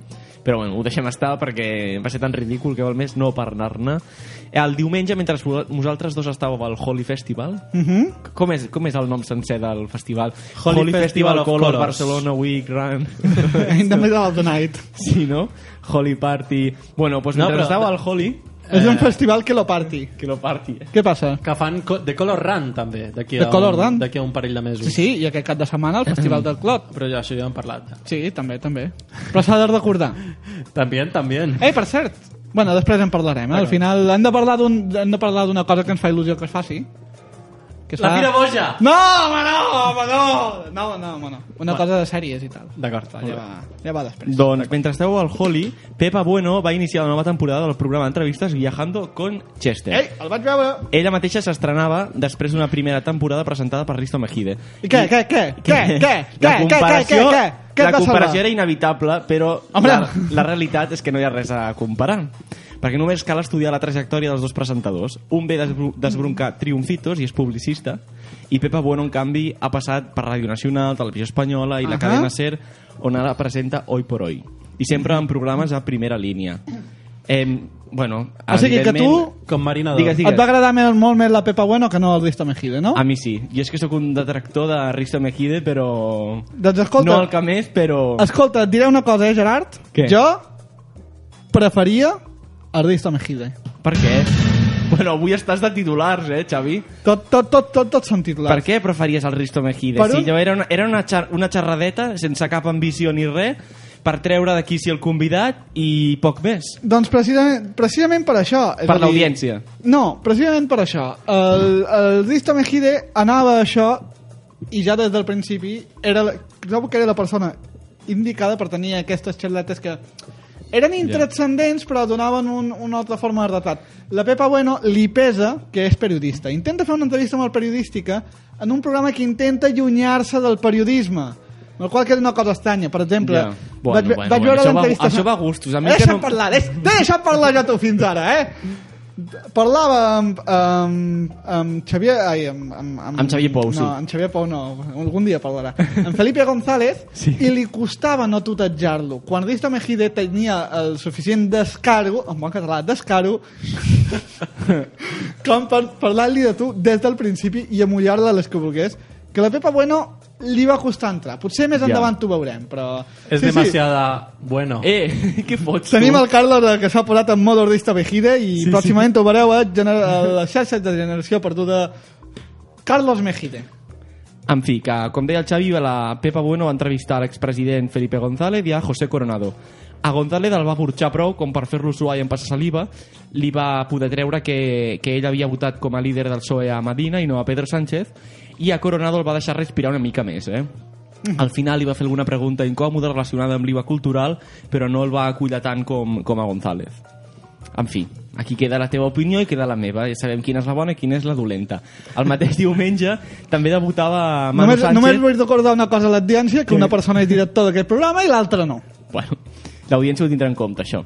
[SPEAKER 3] Però bueno, ho deixem estar perquè va ser tan ridícul que val més no parlar-ne. El diumenge, mentre vo- vosaltres dos estàveu al Holy Festival,
[SPEAKER 1] Mhm.
[SPEAKER 3] com és, com és el nom sencer del festival?
[SPEAKER 2] Holy Festival of
[SPEAKER 3] Color
[SPEAKER 2] Colors.
[SPEAKER 3] Barcelona Week Run.
[SPEAKER 1] In the middle of the night.
[SPEAKER 3] Sí, no? Holy Party... Bueno, doncs
[SPEAKER 2] No,
[SPEAKER 3] mentre
[SPEAKER 2] però-
[SPEAKER 3] estava al Holy...
[SPEAKER 1] És un festival que lo party.
[SPEAKER 3] Que lo party.
[SPEAKER 2] eh.
[SPEAKER 1] Què passa?
[SPEAKER 2] Que fan co de Color Run, també. d'aquí a
[SPEAKER 1] The Color
[SPEAKER 2] un-
[SPEAKER 1] Run?
[SPEAKER 2] D'aquí a un parell de mesos.
[SPEAKER 1] Sí, sí, i aquest cap de setmana el Festival del Clot.
[SPEAKER 2] Però ja, això ja hem parlat.
[SPEAKER 1] Sí, també, també. Però s'ha de recordar.
[SPEAKER 2] També, també.
[SPEAKER 1] Ei, per cert, bueno, després en parlarem. Eh? Al final hem de parlar d'un- hem de parlar d'una cosa que ens fa il·lusió que es faci. Que es
[SPEAKER 2] La
[SPEAKER 1] fa-
[SPEAKER 2] Fira Boja!
[SPEAKER 1] No, home, no, home, no! No, no, home, no. Una
[SPEAKER 3] Va.
[SPEAKER 1] cosa de sèries i tal.
[SPEAKER 2] D'acord.
[SPEAKER 1] Ja va, ja va després.
[SPEAKER 3] Doncs, mentre esteu al Holly, Pepa Bueno va iniciar la nova temporada del programa d'entrevistes Viajando con Chester.
[SPEAKER 1] Ei, el vaig veure.
[SPEAKER 3] Ella mateixa s'estrenava després d'una primera temporada presentada per Risto Mejide.
[SPEAKER 1] I què, què, què, què, què, què,
[SPEAKER 3] la
[SPEAKER 1] què, què, què,
[SPEAKER 3] comparació,
[SPEAKER 1] què, què,
[SPEAKER 3] la
[SPEAKER 1] et va salvar?
[SPEAKER 3] comparació era inevitable, però
[SPEAKER 1] Home!
[SPEAKER 3] la, la realitat és que no hi ha res a comparar. Perquè només cal estudiar la trajectòria dels dos presentadors. Un ve desbro- desbroncar triomfitos i és publicista, i Pepa Bueno, en canvi, ha passat per Ràdio Nacional, Televisió Espanyola i la
[SPEAKER 1] Ahà.
[SPEAKER 3] cadena SER, on ara presenta Hoy por Hoy. I sempre en programes a primera línia. Em, bueno,
[SPEAKER 1] O sigui que tu-
[SPEAKER 3] evidentment-
[SPEAKER 2] Com Marina
[SPEAKER 3] Digues, digues.
[SPEAKER 1] Et va agradar més, molt més la Pepa Bueno que no el Risto Mejide, no?
[SPEAKER 3] A mi sí. Jo és que sóc un detractor de Risto Mejide, però...
[SPEAKER 1] Doncs escolta,
[SPEAKER 3] No el que més, però...
[SPEAKER 1] escolta, et diré una cosa, eh, Gerard?
[SPEAKER 3] Què?
[SPEAKER 1] Jo preferia el Risto Mejide.
[SPEAKER 3] Per què? Bueno, avui estàs de titulars, eh, Xavi?
[SPEAKER 1] Tot, tot, tot, tot, tot són titulars.
[SPEAKER 3] Per què preferies el Risto Mejide?
[SPEAKER 1] Per un-
[SPEAKER 3] Si jo era una, era una, xar una xerradeta sense cap ambició ni res per treure d'aquí si el convidat i poc més.
[SPEAKER 1] Doncs precisament, precisament per això. és
[SPEAKER 3] Per
[SPEAKER 1] a dir-
[SPEAKER 3] l'audiència.
[SPEAKER 1] No, precisament per això. El, el Risto Mejide anava a això i ja des del principi era, la- trobo que era la persona indicada per tenir aquestes xerletes que eren intranscendents però donaven un, una altra forma de retrat. La Pepa Bueno li pesa que és periodista. Intenta fer una entrevista molt periodística en un programa que intenta allunyar-se del periodisme. Amb la qual cosa queda una cosa estranya. Per exemple,
[SPEAKER 3] Ja. Bueno,
[SPEAKER 1] vaig, ve-
[SPEAKER 3] bueno,
[SPEAKER 1] vaig
[SPEAKER 3] bueno,
[SPEAKER 1] veure
[SPEAKER 3] això va-
[SPEAKER 1] l'entrevista...
[SPEAKER 3] això va a gustos. A mi
[SPEAKER 1] deixa'm
[SPEAKER 3] que no-
[SPEAKER 1] parlar, deix, deixa'm parlar jo tu fins ara, eh? Parlava amb, amb, amb Xavier... Ai, amb, amb,
[SPEAKER 3] Amb Xavier Pou,
[SPEAKER 1] no,
[SPEAKER 3] sí.
[SPEAKER 1] amb Xavier Pou no, algun dia parlarà. Amb Felipe González, sí. i li costava no tutetjar-lo. Quan Risto Mejide tenia el suficient descaro, en bon català, descaro, com per parlar-li de tu des del principi i amollar-la les que volgués, que la Pepa Bueno li va costar entrar. Potser més
[SPEAKER 2] Ja.
[SPEAKER 1] endavant t'ho veurem, però...
[SPEAKER 2] És demasiada... Bueno.
[SPEAKER 3] Eh, què fots
[SPEAKER 1] Tenim el Carlos eh, que s'ha posat en modo ordista Mejide i
[SPEAKER 3] Sí,
[SPEAKER 1] pròximament ho veureu a, gener- a les xarxes de generació perduda Carlos Mejide.
[SPEAKER 3] En fi, que, com deia el Xavi, la Pepa Bueno va entrevistar l'expresident Felipe González i a José Coronado. A González el va burxar prou com per fer-lo suar i empassar saliva. Li va poder treure que, que ell havia votat com a líder del PSOE a Medina i no a Pedro Sánchez. I a Coronado el va deixar respirar una mica més, eh? Al final li va fer alguna pregunta incòmoda relacionada amb l'IVA cultural, però no el va acollar tant com, com a González. En fi, Aquí queda la teva opinió i queda la meva. Ja sabem quina és la bona i quina és la dolenta. El mateix diumenge també debutava Manu
[SPEAKER 1] Només,
[SPEAKER 3] Sánchez.
[SPEAKER 1] només vull recordar una cosa a l'audiència, que una persona és director d'aquest programa i l'altra no.
[SPEAKER 3] Bueno, l'audiència ho tindrà en compte, això.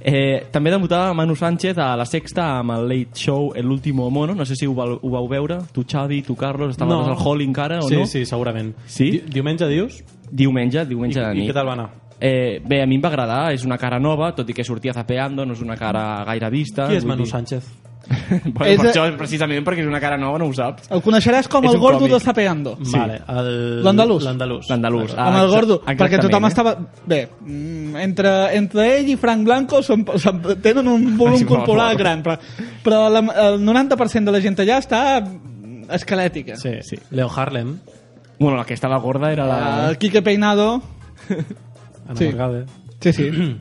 [SPEAKER 3] Eh, també debutava Manu Sánchez a la sexta amb el late show El último mono. No sé si ho, va, ho vau veure, tu Xavi, tu Carlos, estaves
[SPEAKER 2] No.
[SPEAKER 3] al hall encara o
[SPEAKER 2] Sí,
[SPEAKER 3] no?
[SPEAKER 2] sí, segurament.
[SPEAKER 3] Sí?
[SPEAKER 2] Di- Diumenge dius?
[SPEAKER 3] Diumenge, diumenge
[SPEAKER 2] I-
[SPEAKER 3] de
[SPEAKER 2] i
[SPEAKER 3] nit.
[SPEAKER 2] què tal va anar?
[SPEAKER 3] Eh, bé, a mi em va agradar, és una cara nova, tot i que sortia zapeando, no és una cara gaire vista.
[SPEAKER 2] Qui és
[SPEAKER 3] Ah, vull
[SPEAKER 2] Manu
[SPEAKER 3] dir-
[SPEAKER 2] Sánchez?
[SPEAKER 3] bueno,
[SPEAKER 1] És
[SPEAKER 3] és per
[SPEAKER 1] a-
[SPEAKER 3] això, precisament, perquè és una cara nova, no ho saps.
[SPEAKER 1] El coneixeràs com
[SPEAKER 3] És
[SPEAKER 1] el
[SPEAKER 3] un
[SPEAKER 1] gordo
[SPEAKER 3] còmic.
[SPEAKER 1] de Zapeando.
[SPEAKER 3] Vale,
[SPEAKER 2] el-
[SPEAKER 1] L'andalús.
[SPEAKER 2] L'andalús.
[SPEAKER 3] L'andalús.
[SPEAKER 1] Ah, amb el gordo,
[SPEAKER 3] exa-
[SPEAKER 1] perquè tothom
[SPEAKER 3] exactament, eh?
[SPEAKER 1] estava... Bé, mm, entre, entre ell i Frank Blanco són, són, tenen un volum
[SPEAKER 3] Sí, molt,
[SPEAKER 1] corporal
[SPEAKER 3] molt.
[SPEAKER 1] gran, però, però la, el 90% de la gent allà està esquelètica.
[SPEAKER 2] Sí, sí. Leo Harlem.
[SPEAKER 3] Eh? Bueno, la que estava gorda era la...
[SPEAKER 1] El Quique Peinado...
[SPEAKER 3] Ana
[SPEAKER 1] sí. Sí, sí.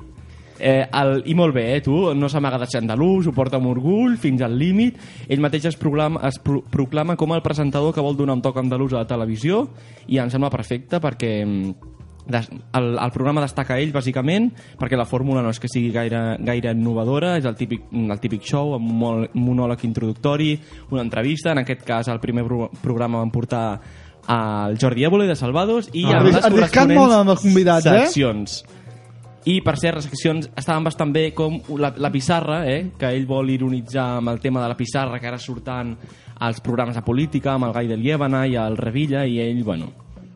[SPEAKER 3] Eh, el, I molt bé, eh, tu, no s'amaga de ser andalús, ho porta amb orgull, fins al límit. Ell mateix es, proclama, es pro, proclama com el presentador que vol donar un toc andalús a la televisió i em sembla perfecte perquè mm, des, el, el programa destaca ell, bàsicament, perquè la fórmula no és que sigui gaire, gaire innovadora, és el típic, mm, el típic show amb un mol- un monòleg introductori, una entrevista, en aquest cas el primer pro, programa van portar el Jordi Évole de Salvados i
[SPEAKER 1] Ah,
[SPEAKER 3] amb les
[SPEAKER 1] arriscat molt
[SPEAKER 3] corresponents
[SPEAKER 1] amb els convidats, eh?
[SPEAKER 3] seccions. I, per cert, les seccions estaven bastant bé com la, la pissarra, eh? que ell vol ironitzar amb el tema de la pissarra, que ara surten als programes de política, amb el Gai de Liébana i el Revilla, i ell, bueno,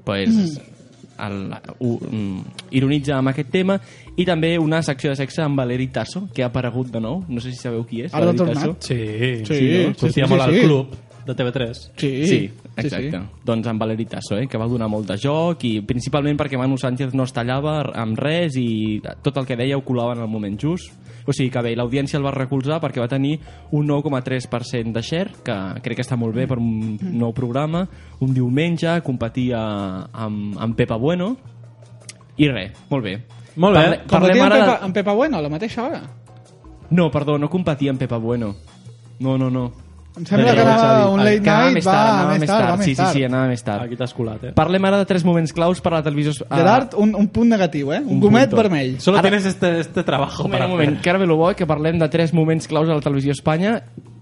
[SPEAKER 3] pues, el, u, mm, ironitza amb aquest tema. I també una secció de sexe amb Valeri Tasso, que ha aparegut de nou. No sé si sabeu qui és.
[SPEAKER 1] Ara ha
[SPEAKER 3] Valeri
[SPEAKER 1] tornat.
[SPEAKER 3] Tasso.
[SPEAKER 2] Sí, sí,
[SPEAKER 3] Sí,
[SPEAKER 2] sí,
[SPEAKER 3] sí,
[SPEAKER 2] no? Sortia
[SPEAKER 3] sí,
[SPEAKER 2] molt
[SPEAKER 3] sí,
[SPEAKER 2] al
[SPEAKER 3] sí.
[SPEAKER 2] club de TV3.
[SPEAKER 1] Sí,
[SPEAKER 3] Sí, exacte. Doncs amb Valeri Tasso, eh, que va donar molt de joc i principalment perquè Manu Sánchez no es tallava amb res i tot el que deia ho colava en el moment just. O sigui que bé, l'audiència el va recolzar perquè va tenir un 9,3% de share, que crec que està molt bé per un nou programa, un diumenge, competia amb, amb Pepa Bueno i res, molt bé.
[SPEAKER 2] Molt bé.
[SPEAKER 3] Parle,
[SPEAKER 1] Competia
[SPEAKER 3] parlem
[SPEAKER 1] amb
[SPEAKER 3] ara...
[SPEAKER 1] Pepa, amb Pepa Bueno a la mateixa hora.
[SPEAKER 3] De... No, perdó, no competia amb Pepa Bueno. No, no, no.
[SPEAKER 1] Em sembla que anava un late
[SPEAKER 3] Anava
[SPEAKER 1] night,
[SPEAKER 3] més
[SPEAKER 1] va,
[SPEAKER 3] tard,
[SPEAKER 1] anava
[SPEAKER 3] anava
[SPEAKER 1] més tard, va més
[SPEAKER 3] Sí, sí,
[SPEAKER 1] tard.
[SPEAKER 3] sí, anava més tard.
[SPEAKER 2] Aquí t'has colat, eh?
[SPEAKER 3] Parlem ara de tres moments claus per a la televisió... a-
[SPEAKER 1] Gerard, un, un punt negatiu, eh? Un, gomet
[SPEAKER 3] Ah. punto.
[SPEAKER 1] vermell.
[SPEAKER 3] Solo Ara-
[SPEAKER 2] Tienes este, este trabajo
[SPEAKER 3] Un moment,
[SPEAKER 2] para
[SPEAKER 3] un moment, que ara ve lo bo, que parlem de tres moments claus a la televisió a Espanya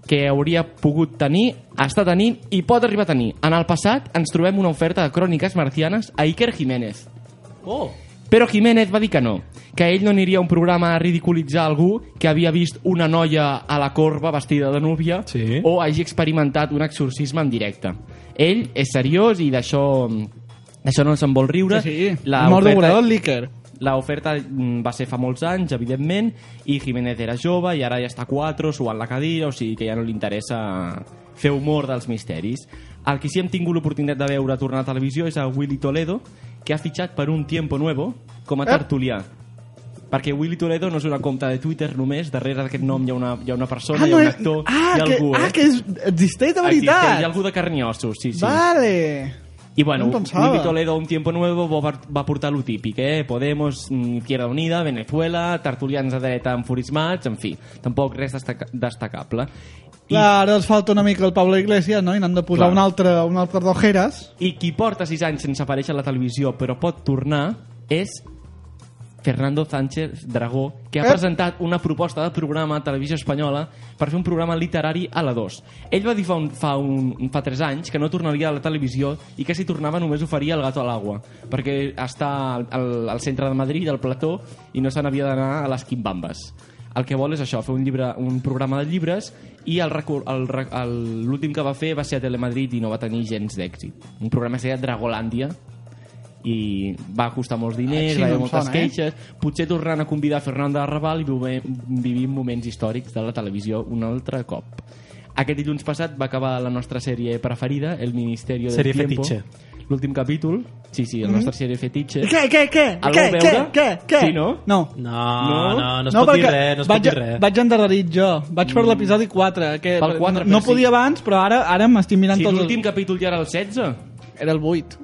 [SPEAKER 3] que hauria pogut tenir, està tenint i pot arribar a tenir. En el passat ens trobem una oferta de cròniques marcianes a Iker Jiménez.
[SPEAKER 2] Oh!
[SPEAKER 3] Però Jiménez va dir que no, que ell no aniria a un programa a ridiculitzar algú que havia vist una noia a la corba vestida de núvia sí. o hagi experimentat un exorcisme en directe. Ell és seriós i d'això d'això no se'n vol riure.
[SPEAKER 1] Sí, sí. Mort d'obrador, Líquer.
[SPEAKER 3] L'oferta mm, va ser fa molts anys, evidentment, i Jiménez era jove i ara ja està a 4, suant la cadira, o sigui que ja no li interessa fer humor dels misteris. El que sí hem tingut l'oportunitat de veure tornar a televisió és a Willy Toledo, que ha fitxat per un Tiempo Nuevo
[SPEAKER 1] Eh?
[SPEAKER 3] com a tertulià. Perquè Willy Toledo no és una compta de Twitter només, darrere d'aquest nom hi ha una, hi ha una persona,
[SPEAKER 1] Ah,
[SPEAKER 3] hi ha
[SPEAKER 1] no
[SPEAKER 3] un
[SPEAKER 1] és-
[SPEAKER 3] actor,
[SPEAKER 1] ah,
[SPEAKER 3] hi ha
[SPEAKER 1] que-
[SPEAKER 3] algú, eh?
[SPEAKER 1] ah, que és- existeix de veritat.
[SPEAKER 3] Existeix, hi ha algú de carn i ossos, sí, sí.
[SPEAKER 1] Vale.
[SPEAKER 3] Y bueno,
[SPEAKER 1] No pensaba.
[SPEAKER 3] Willy Toledo, un tiempo nuevo, va va aportar lo típic, eh? Podemos, mm, Izquierda Unida, Venezuela, tertulians de dreta enfurismats, en fi, tampoc res destaca destacable. I,
[SPEAKER 1] Clar, ara els falta una mica el Pablo Iglesias, no? I n'han de posar
[SPEAKER 3] Clar.
[SPEAKER 1] un altre, un altre d'Ojeras.
[SPEAKER 3] I qui porta sis anys sense aparèixer a la televisió però pot tornar és Fernando Sánchez Dragó, que ha
[SPEAKER 1] Eh?
[SPEAKER 3] presentat una proposta de programa a Televisió Espanyola per fer un programa literari a la 2. Ell va dir fa, un, fa, un, fa 3 anys que no tornaria a la televisió i que si tornava només ho faria el gato a l'aigua, perquè està al, al, al centre de Madrid, al plató, i no se n'havia d'anar a les quimbambes. El que vol és això, fer un, llibre, un programa de llibres i el recor- el re- el- l'últim que va fer va ser a Telemadrid i no va tenir gens d'èxit. Un programa que es deia Dragolàndia, i va costar molts diners,
[SPEAKER 1] Ah, Així
[SPEAKER 3] va
[SPEAKER 1] no
[SPEAKER 3] haver
[SPEAKER 1] em
[SPEAKER 3] moltes
[SPEAKER 1] sona, eh?
[SPEAKER 3] queixes. Potser tornant a convidar Fernanda Arrabal i vive- vivim moments històrics de la televisió un altre cop. Aquest dilluns passat va acabar la nostra sèrie preferida, El Ministerio del
[SPEAKER 2] Sèrie
[SPEAKER 3] Tiempo.
[SPEAKER 2] fetitxe.
[SPEAKER 3] L'últim capítol. Sí, sí, la
[SPEAKER 1] Mhm.
[SPEAKER 3] nostra sèrie fetitxe.
[SPEAKER 1] Què, què, què? Què,
[SPEAKER 3] El vau
[SPEAKER 1] què,
[SPEAKER 3] veure?
[SPEAKER 1] què, què?
[SPEAKER 3] Sí, no?
[SPEAKER 1] No.
[SPEAKER 2] No, no, no es pot dir
[SPEAKER 1] perquè
[SPEAKER 2] res, no es
[SPEAKER 1] vaig,
[SPEAKER 2] pot dir res.
[SPEAKER 1] Vaig endarrerit jo. Vaig per l'episodi 4. Que
[SPEAKER 3] Pel quatre,
[SPEAKER 1] no, no
[SPEAKER 3] però
[SPEAKER 1] podia
[SPEAKER 3] sí.
[SPEAKER 1] abans, però ara ara m'estic mirant
[SPEAKER 3] Sí,
[SPEAKER 1] tots
[SPEAKER 3] l'últim capítol ja era el 16.
[SPEAKER 1] Era el 8.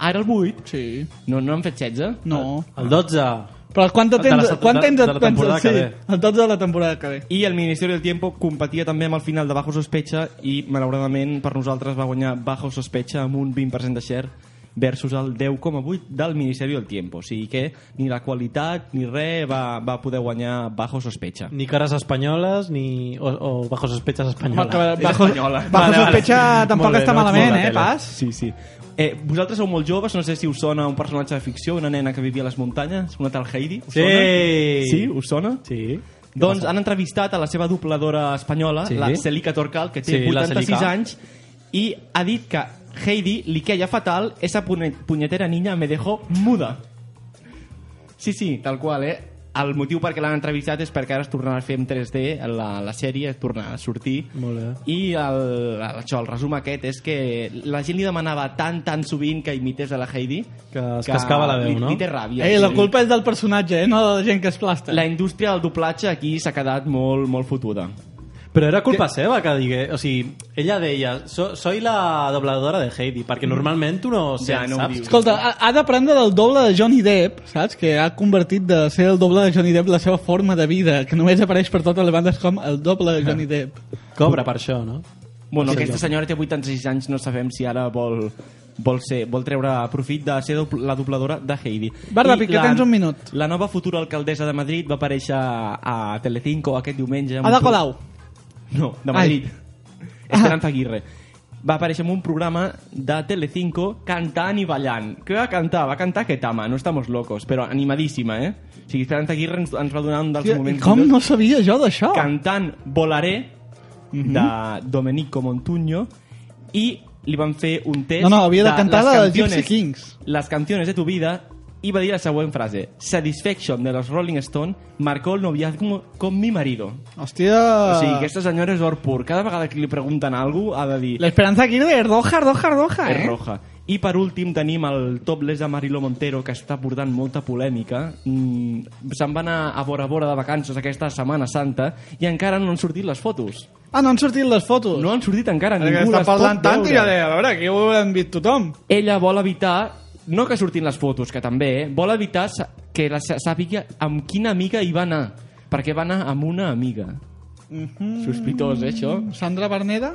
[SPEAKER 3] Ara el 8?
[SPEAKER 1] Sí.
[SPEAKER 3] No, no han fet 16?
[SPEAKER 1] No.
[SPEAKER 2] El 12.
[SPEAKER 1] Però quant de
[SPEAKER 3] De
[SPEAKER 1] temps,
[SPEAKER 3] la-
[SPEAKER 1] quant
[SPEAKER 3] de-
[SPEAKER 1] temps
[SPEAKER 3] de
[SPEAKER 1] et
[SPEAKER 3] la
[SPEAKER 1] penses?
[SPEAKER 3] temporada que
[SPEAKER 1] sí,
[SPEAKER 3] ve.
[SPEAKER 1] el 12 de la temporada que ve.
[SPEAKER 3] I el Ministeri del Tiempo competia també amb el final de Bajo Sospecha i, malauradament, per nosaltres va guanyar Bajo Sospecha amb un 20% de share versus el 10,8 del Ministeri del Tiempo. O sigui que ni la qualitat ni res va, va poder guanyar bajo sospecha.
[SPEAKER 2] Ni cares espanyoles, ni... O, o bajo sospechas espanyoles.
[SPEAKER 3] Bajo- bajo-
[SPEAKER 2] Espanyola.
[SPEAKER 3] bajo sospecha tampoc
[SPEAKER 2] Molt bé,
[SPEAKER 3] està
[SPEAKER 2] no ets
[SPEAKER 3] malament,
[SPEAKER 2] molt de
[SPEAKER 3] eh,
[SPEAKER 2] tela.
[SPEAKER 3] pas? Sí, sí. Eh, vosaltres sou molt joves, no sé si us sona un personatge de ficció, una nena que vivia a les muntanyes, una tal Heidi. Us
[SPEAKER 2] Sí.
[SPEAKER 3] Sona? Sí, us sona?
[SPEAKER 2] Sí.
[SPEAKER 3] Doncs
[SPEAKER 2] passa?
[SPEAKER 3] han entrevistat a la seva dobladora espanyola,
[SPEAKER 2] Sí.
[SPEAKER 3] la Celica Torcal, que té
[SPEAKER 2] Sí, la
[SPEAKER 3] 86
[SPEAKER 2] Celica.
[SPEAKER 3] anys, i ha dit que Heidi li queia fatal, esa puñe- puñetera niña me dejó muda. Sí, sí, tal qual, eh? El motiu perquè l'han entrevistat és perquè ara es tornarà a fer en 3D, la, la sèrie es tornarà a sortir.
[SPEAKER 2] Molt bé.
[SPEAKER 3] I el, això, el resum aquest és que la gent li demanava tan, tan sovint que imités a la Heidi que
[SPEAKER 2] es cascava la veu,
[SPEAKER 3] li,
[SPEAKER 2] no?
[SPEAKER 3] Li té ràbia.
[SPEAKER 1] Ei, Eh, la
[SPEAKER 3] Sí.
[SPEAKER 1] culpa és del personatge, eh? no de la gent que es plasta.
[SPEAKER 3] La indústria del doblatge aquí s'ha quedat molt, molt fotuda.
[SPEAKER 2] Però era culpa seva que digue... O sigui, ella deia, so, soy la dobladora de Heidi, perquè normalment tu no, sé,
[SPEAKER 1] Ja, no ho
[SPEAKER 2] saps?
[SPEAKER 1] dius. Escolta, ha, ha d'aprendre del doble de Johnny Depp, saps? Que ha convertit de ser el doble de Johnny Depp la seva forma de vida, que només apareix per totes les bandes com el doble de Johnny Depp.
[SPEAKER 2] Cobra per això, no?
[SPEAKER 3] Bueno,
[SPEAKER 1] Sí,
[SPEAKER 3] aquesta
[SPEAKER 1] jo.
[SPEAKER 3] senyora té 86 anys, no sabem si ara vol, vol, ser, vol treure profit de ser dobl- la dobladora de Heidi.
[SPEAKER 1] Va,
[SPEAKER 3] I
[SPEAKER 1] ràpid, que
[SPEAKER 3] la-
[SPEAKER 1] tens un minut.
[SPEAKER 3] La nova futura alcaldessa de Madrid va aparèixer a Telecinco aquest diumenge. amb
[SPEAKER 1] Ada
[SPEAKER 3] un pro-
[SPEAKER 1] Colau.
[SPEAKER 3] No, de Madrid. Esperanza Aguirre. Va aparèixer en un programa de Telecinco cantant i ballant. Què va cantar? Va cantar Ketama, no estamos locos, però animadíssima, eh? O sigui, Esperanza Aguirre ens, ens va donar un dels
[SPEAKER 1] Hòstia, I
[SPEAKER 3] moments...
[SPEAKER 1] com
[SPEAKER 3] millors
[SPEAKER 1] no sabia jo d'això?
[SPEAKER 3] cantant Volaré
[SPEAKER 1] Mhm.
[SPEAKER 3] de Domenico Montuño i li van fer un test
[SPEAKER 1] No, no, havia de cantar
[SPEAKER 3] les
[SPEAKER 1] la de Gypsy
[SPEAKER 3] canciones-
[SPEAKER 1] Kings.
[SPEAKER 3] Les canciones de tu vida i va dir la següent frase Satisfaction de los Rolling Stone marcó el noviazgo con mi marido.
[SPEAKER 1] Hòstia...
[SPEAKER 3] O sigui, aquesta senyora és or pur. Cada vegada que li pregunten alguna cosa ha de dir...
[SPEAKER 1] L'Esperanza Aguirre és roja, roja, roja,
[SPEAKER 3] És
[SPEAKER 1] eh?
[SPEAKER 3] roja. I per últim tenim el topless de Marilo Montero, que està portant molta polèmica. Mm, Se'n va anar a Bora Bora de vacances aquesta Setmana Santa i encara no han sortit les fotos.
[SPEAKER 1] Ah, no han sortit les fotos?
[SPEAKER 3] No han sortit encara,
[SPEAKER 1] Perquè
[SPEAKER 3] ningú
[SPEAKER 1] està
[SPEAKER 3] les
[SPEAKER 1] parlant
[SPEAKER 3] pot
[SPEAKER 1] tant
[SPEAKER 3] veure.
[SPEAKER 1] i jo deia, a veure, aquí ho hem vist tothom.
[SPEAKER 3] Ella vol evitar, no que surtin les fotos, que també, eh? vol evitar sa- que la sa- sàpiga amb quina amiga hi va anar, perquè va anar amb una amiga.
[SPEAKER 1] Mhm.
[SPEAKER 3] Sospitós, eh, això?
[SPEAKER 1] Sandra Berneda?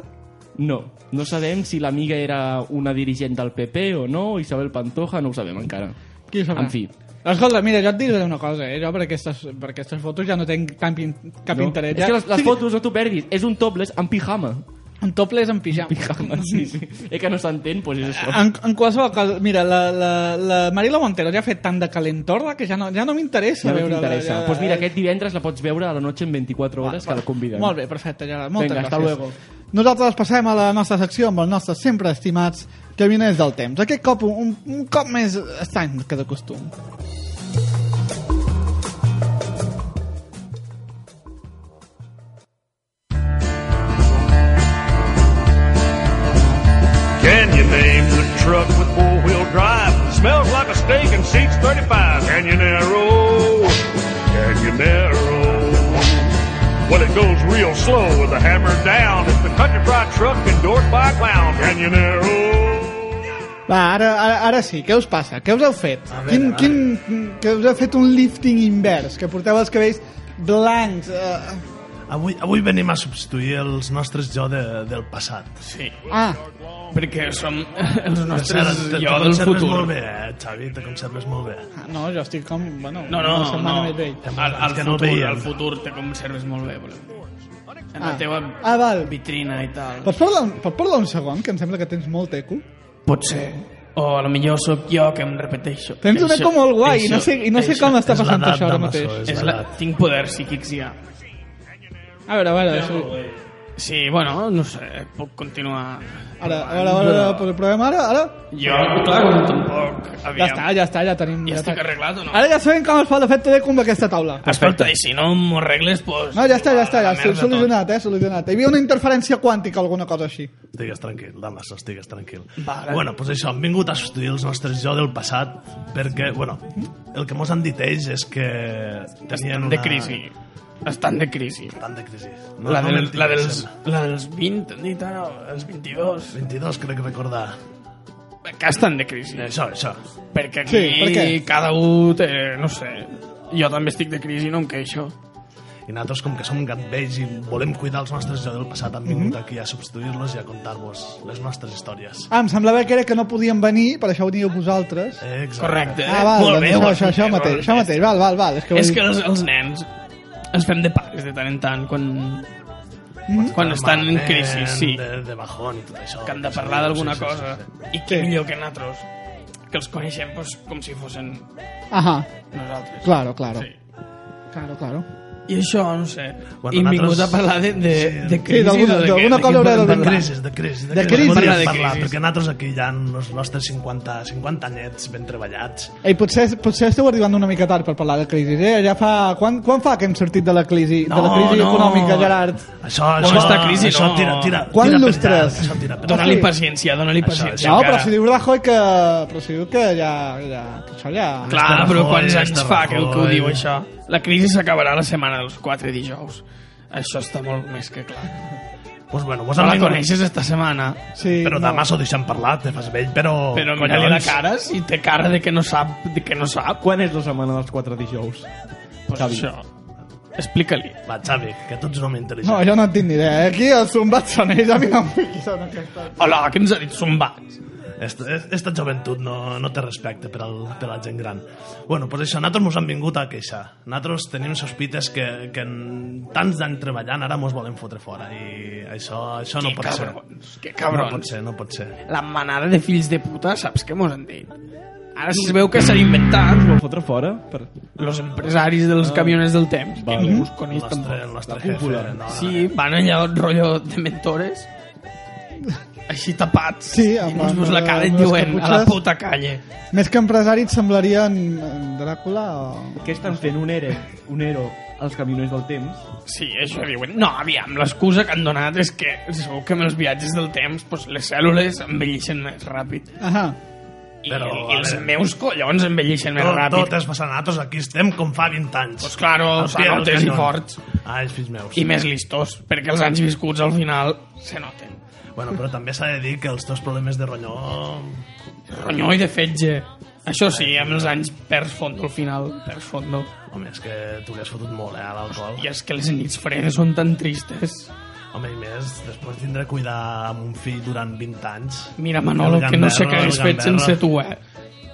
[SPEAKER 3] No, no sabem si l'amiga era una dirigent del PP o no, Isabel Pantoja, no ho sabem encara.
[SPEAKER 1] Qui ho sabrà?
[SPEAKER 3] En fi.
[SPEAKER 1] Escolta, mira, jo et diré una cosa, eh? Jo per aquestes, per aquestes fotos ja no tinc cap, in- cap
[SPEAKER 3] no?
[SPEAKER 1] interès.
[SPEAKER 3] És
[SPEAKER 1] Ja.
[SPEAKER 3] que les, les
[SPEAKER 1] Sí,
[SPEAKER 3] fotos no t'ho perdis, és un topless amb pijama.
[SPEAKER 1] Un topless amb pijama.
[SPEAKER 3] Pijama, sí, sí. És que no s'entén, doncs és això.
[SPEAKER 1] En, en qualsevol cas, mira, la, la, la Marilo Montero ja ha fet tant de calentorra que ja no, ja no m'interessa
[SPEAKER 3] Ja no
[SPEAKER 1] veure-la.
[SPEAKER 3] t'interessa. Doncs
[SPEAKER 1] ja-
[SPEAKER 3] pues mira, aquest divendres la pots veure a la noche en 24 hores, que la convidem.
[SPEAKER 1] eh. Molt bé, perfecte, Gerard. Moltes
[SPEAKER 3] Vinga, hasta
[SPEAKER 1] gràcies.
[SPEAKER 3] luego.
[SPEAKER 1] Nosaltres passem a la nostra secció amb els nostres sempre estimats caminers del temps. Aquest cop un, un cop més estrany que de costum.
[SPEAKER 13] Can you name the truck with four-wheel drive? Smells like a steak and seats 35. Can you narrow? Can you narrow? Well, it goes real slow with the hammer down. It's the country fried truck endorsed by a clown. Can you narrow?
[SPEAKER 1] Va, ara, ara, ara sí, què us passa? Què us heu fet? Veure, quin, quin, que us heu fet un lifting invers, que porteu els cabells blancs. Eh,
[SPEAKER 4] Avui, avui venim a substituir els nostres jo de, del passat. Sí.
[SPEAKER 1] ah,
[SPEAKER 4] Perquè som
[SPEAKER 1] els nostres jo
[SPEAKER 4] te, te
[SPEAKER 1] del
[SPEAKER 4] conserves
[SPEAKER 1] futur.
[SPEAKER 4] molt bé, eh, Xavi, te conserves molt bé.
[SPEAKER 1] ah, no, jo estic com... Bueno,
[SPEAKER 4] No, no,
[SPEAKER 1] una setmana
[SPEAKER 4] no.
[SPEAKER 1] més vell.
[SPEAKER 4] Al- al
[SPEAKER 1] que
[SPEAKER 4] no
[SPEAKER 1] futur,
[SPEAKER 4] veiem.
[SPEAKER 1] al
[SPEAKER 10] futur te conserves molt bé, volem dir. En
[SPEAKER 1] Ah.
[SPEAKER 10] la teva
[SPEAKER 1] Ah, val.
[SPEAKER 10] vitrina i tal.
[SPEAKER 1] Pots parlar, un- pots parlar un segon, que em sembla que tens molt eco?
[SPEAKER 10] Potser. O a lo millor sóc jo que em repeteixo.
[SPEAKER 1] Tens un
[SPEAKER 10] Això-
[SPEAKER 1] eco molt guai,
[SPEAKER 10] això-
[SPEAKER 1] no sé- i no sé com està És passant l'edat això ara de Masó, mateix. és
[SPEAKER 10] És la...
[SPEAKER 1] l'edat.
[SPEAKER 10] Tinc poders psíquics ja.
[SPEAKER 1] A veure, a veure, això...
[SPEAKER 10] Sí, bueno, no sé, puc continuar.
[SPEAKER 1] Ara, ara, ara, ara, però provem ara, ara?
[SPEAKER 10] Jo, clar, com tampoc...
[SPEAKER 1] Ja està, ja està, ja tenim...
[SPEAKER 10] Ja estic
[SPEAKER 1] tenim.
[SPEAKER 10] arreglat o no? Ah,
[SPEAKER 1] Ara ja sabem com es fa l'efecte d'eco amb aquesta taula.
[SPEAKER 10] Escolta, i Ah, si no m'ho arregles, pues...
[SPEAKER 1] No, ja està, ja està, ja està,
[SPEAKER 10] merda,
[SPEAKER 1] solucionat, eh, solucionat. Hi havia una interferència quàntica o alguna cosa així.
[SPEAKER 4] Estigues tranquil, Damas, estigues tranquil.
[SPEAKER 1] Vale.
[SPEAKER 4] Bueno, doncs això, hem vingut a substituir els nostres jo del passat perquè, bueno, el que mos han dit ells és que
[SPEAKER 10] Estan
[SPEAKER 4] tenien una...
[SPEAKER 10] de crisi. Estan de crisi.
[SPEAKER 4] Estan de crisi.
[SPEAKER 10] La del-
[SPEAKER 4] mentim,
[SPEAKER 10] la dels-
[SPEAKER 4] sembla.
[SPEAKER 10] la dels 20, han dit ara, els 22.
[SPEAKER 4] 22, crec recordar.
[SPEAKER 10] Que estan de crisi.
[SPEAKER 4] Això, això.
[SPEAKER 10] Perquè aquí
[SPEAKER 4] Sí, per què?
[SPEAKER 10] cada un té, no sé, jo també estic de crisi i no em queixo.
[SPEAKER 4] i nosaltres com que som gatvells i volem cuidar els nostres jo del passat hem
[SPEAKER 1] Mhm.
[SPEAKER 4] vingut aquí a substituir-los i a contar-vos les nostres històries.
[SPEAKER 1] Ah, em semblava que era que no podíem venir, per això veníeu vosaltres.
[SPEAKER 4] Exacte.
[SPEAKER 10] Correcte.
[SPEAKER 1] Ah, val,
[SPEAKER 10] Eh, Molt
[SPEAKER 1] doncs
[SPEAKER 10] bé,
[SPEAKER 4] eh?
[SPEAKER 1] això,
[SPEAKER 10] molt
[SPEAKER 1] això,
[SPEAKER 10] bé,
[SPEAKER 1] això
[SPEAKER 10] molt
[SPEAKER 1] mateix,
[SPEAKER 10] bé.
[SPEAKER 1] això mateix, val, val, val. És que, ho he
[SPEAKER 10] és
[SPEAKER 1] dit.
[SPEAKER 10] que els, els nens ens fem de pares de tant en tant quan,
[SPEAKER 1] Mhm.
[SPEAKER 10] quan estan en
[SPEAKER 4] malament,
[SPEAKER 10] crisi, sí.
[SPEAKER 4] De, de bajón i tot això.
[SPEAKER 10] Que han de parlar d'alguna cosa. I què
[SPEAKER 4] Sí.
[SPEAKER 10] millor que nosaltres, que els coneixem doncs, com si fossin
[SPEAKER 1] Ahà.
[SPEAKER 10] nosaltres.
[SPEAKER 1] Claro, claro. Claro, claro.
[SPEAKER 10] I això, no sé,
[SPEAKER 1] Bueno,
[SPEAKER 10] bueno, hem vingut a
[SPEAKER 1] nosaltres-
[SPEAKER 10] parlar de, de,
[SPEAKER 1] Sí,
[SPEAKER 10] de
[SPEAKER 1] sí,
[SPEAKER 10] crisi.
[SPEAKER 1] d'alguna-
[SPEAKER 10] o de què-
[SPEAKER 1] d'alguna
[SPEAKER 10] de
[SPEAKER 1] cosa
[SPEAKER 10] què
[SPEAKER 1] haurà de parlar.
[SPEAKER 10] podem parlar.
[SPEAKER 4] crisis, de crisis.
[SPEAKER 1] De crisis.
[SPEAKER 4] Podríem
[SPEAKER 1] De
[SPEAKER 4] parlar,
[SPEAKER 1] crisis.
[SPEAKER 4] perquè nosaltres aquí hi ha els nostres 50, 50 anyets ben treballats.
[SPEAKER 1] Ei, potser, potser esteu arribant una mica tard per parlar de crisi, eh? Ja fa... Quan, quan fa que hem sortit de la crisi, de la
[SPEAKER 4] No,
[SPEAKER 1] crisi
[SPEAKER 4] no.
[SPEAKER 1] econòmica, Gerard?
[SPEAKER 4] Això, això,
[SPEAKER 10] està crisi,
[SPEAKER 4] això
[SPEAKER 10] no.
[SPEAKER 4] tira, tira,
[SPEAKER 1] Quan
[SPEAKER 4] tira
[SPEAKER 1] lustres?
[SPEAKER 4] Això tira per
[SPEAKER 10] Dóna-li
[SPEAKER 4] dalt.
[SPEAKER 10] paciència, dóna-li
[SPEAKER 4] Això,
[SPEAKER 10] paciència.
[SPEAKER 1] No, però
[SPEAKER 10] encara.
[SPEAKER 1] si diu Rajoy que... Però si diu que ja... ja que això ja...
[SPEAKER 10] Clar, però quants anys fa que, que ho
[SPEAKER 1] Rajoy.
[SPEAKER 10] diu
[SPEAKER 4] eh.
[SPEAKER 10] això? La crisi s'acabarà la setmana dels 4 dijous. Això està molt més que clar.
[SPEAKER 4] Pues Doncs bueno, vos
[SPEAKER 10] no la
[SPEAKER 4] almenys-
[SPEAKER 10] coneixes esta setmana.
[SPEAKER 1] Sí,
[SPEAKER 4] però demà s'ho deixem parlar, te fas vell, però...
[SPEAKER 10] Però mira-li
[SPEAKER 4] doncs.
[SPEAKER 10] la cara, si té cara de que no sap, de que no sap.
[SPEAKER 3] Quan és la setmana dels 4 dijous?
[SPEAKER 10] Pues
[SPEAKER 3] Xavi.
[SPEAKER 10] això. Explica-li.
[SPEAKER 4] Va, Xavi, que tu ets un home intel·ligent.
[SPEAKER 1] No, jo no en tinc ni idea. eh? Aquí els zumbats són ells, a mi no em fiquis en aquesta...
[SPEAKER 10] Hola, què ens ha dit Zumbats?
[SPEAKER 4] Esta, esta joventut no, no té respecte per, al, per la gent gran. Bueno, pues això, nosaltres mos han vingut a queixar. Nosaltres tenim sospites que, que en tants d'anys treballant ara mos volen fotre fora i això, això no
[SPEAKER 10] Que
[SPEAKER 4] pot
[SPEAKER 10] cabrons,
[SPEAKER 4] ser.
[SPEAKER 10] que cabrons.
[SPEAKER 4] No pot ser, no pot ser.
[SPEAKER 10] La manada de fills de puta, saps què mos han dit? Ara es veu que s'han inventat.
[SPEAKER 3] Vol fotre fora? Per...
[SPEAKER 10] Los empresaris dels
[SPEAKER 3] Ah.
[SPEAKER 10] camiones del temps, que
[SPEAKER 3] Vale.
[SPEAKER 10] ningú us coneix
[SPEAKER 3] Nostre-
[SPEAKER 10] tampoc.
[SPEAKER 3] nostre jefe, no, no,
[SPEAKER 10] Sí, van allà rotllo de mentores, així tapats,
[SPEAKER 1] Sí,
[SPEAKER 10] i
[SPEAKER 1] amb-
[SPEAKER 10] nos la
[SPEAKER 1] amb-
[SPEAKER 10] cara i
[SPEAKER 1] amb les
[SPEAKER 10] diuen a la
[SPEAKER 1] caputxes".
[SPEAKER 10] puta calle.
[SPEAKER 1] Més que empresari et semblaria en, en Dràcula o...
[SPEAKER 3] Què estan fent? Un ere, un ero, els camioners del temps?
[SPEAKER 10] Sí, això diuen. No, aviam, l'excusa que han donat és que segur que amb els viatges del temps doncs, les cèl·lules envelleixen més ràpid.
[SPEAKER 1] Ahà.
[SPEAKER 10] I,
[SPEAKER 4] Però,
[SPEAKER 10] i
[SPEAKER 4] a
[SPEAKER 10] els
[SPEAKER 4] veure.
[SPEAKER 10] meus collons envelleixen més
[SPEAKER 4] Tot-
[SPEAKER 10] ràpid.
[SPEAKER 4] Tot és passant. Nosaltres aquí estem com fa 20 anys.
[SPEAKER 10] Pues claro,
[SPEAKER 4] Al pie del
[SPEAKER 10] sanotes i
[SPEAKER 4] cañón.
[SPEAKER 10] forts.
[SPEAKER 4] Ai, fills meus.
[SPEAKER 10] I més listos, perquè els anys viscuts al final se noten.
[SPEAKER 4] Bueno, però també s'ha de dir que els teus problemes de ronyó...
[SPEAKER 10] Ronyó i de fetge. Això sí, amb els anys perds fondo al final, perds fondo.
[SPEAKER 4] Home, és que tu li has fotut molt, eh, a l'alcohol.
[SPEAKER 10] I és que les nits fredes són tan tristes.
[SPEAKER 4] Home, i més, després tindré que cuidar amb un fill durant 20 anys.
[SPEAKER 10] Mira, Manolo,
[SPEAKER 4] El
[SPEAKER 10] que no sé
[SPEAKER 4] gamberro,
[SPEAKER 10] què hagués
[SPEAKER 4] el
[SPEAKER 10] fet
[SPEAKER 4] gamberro.
[SPEAKER 10] sense tu, eh?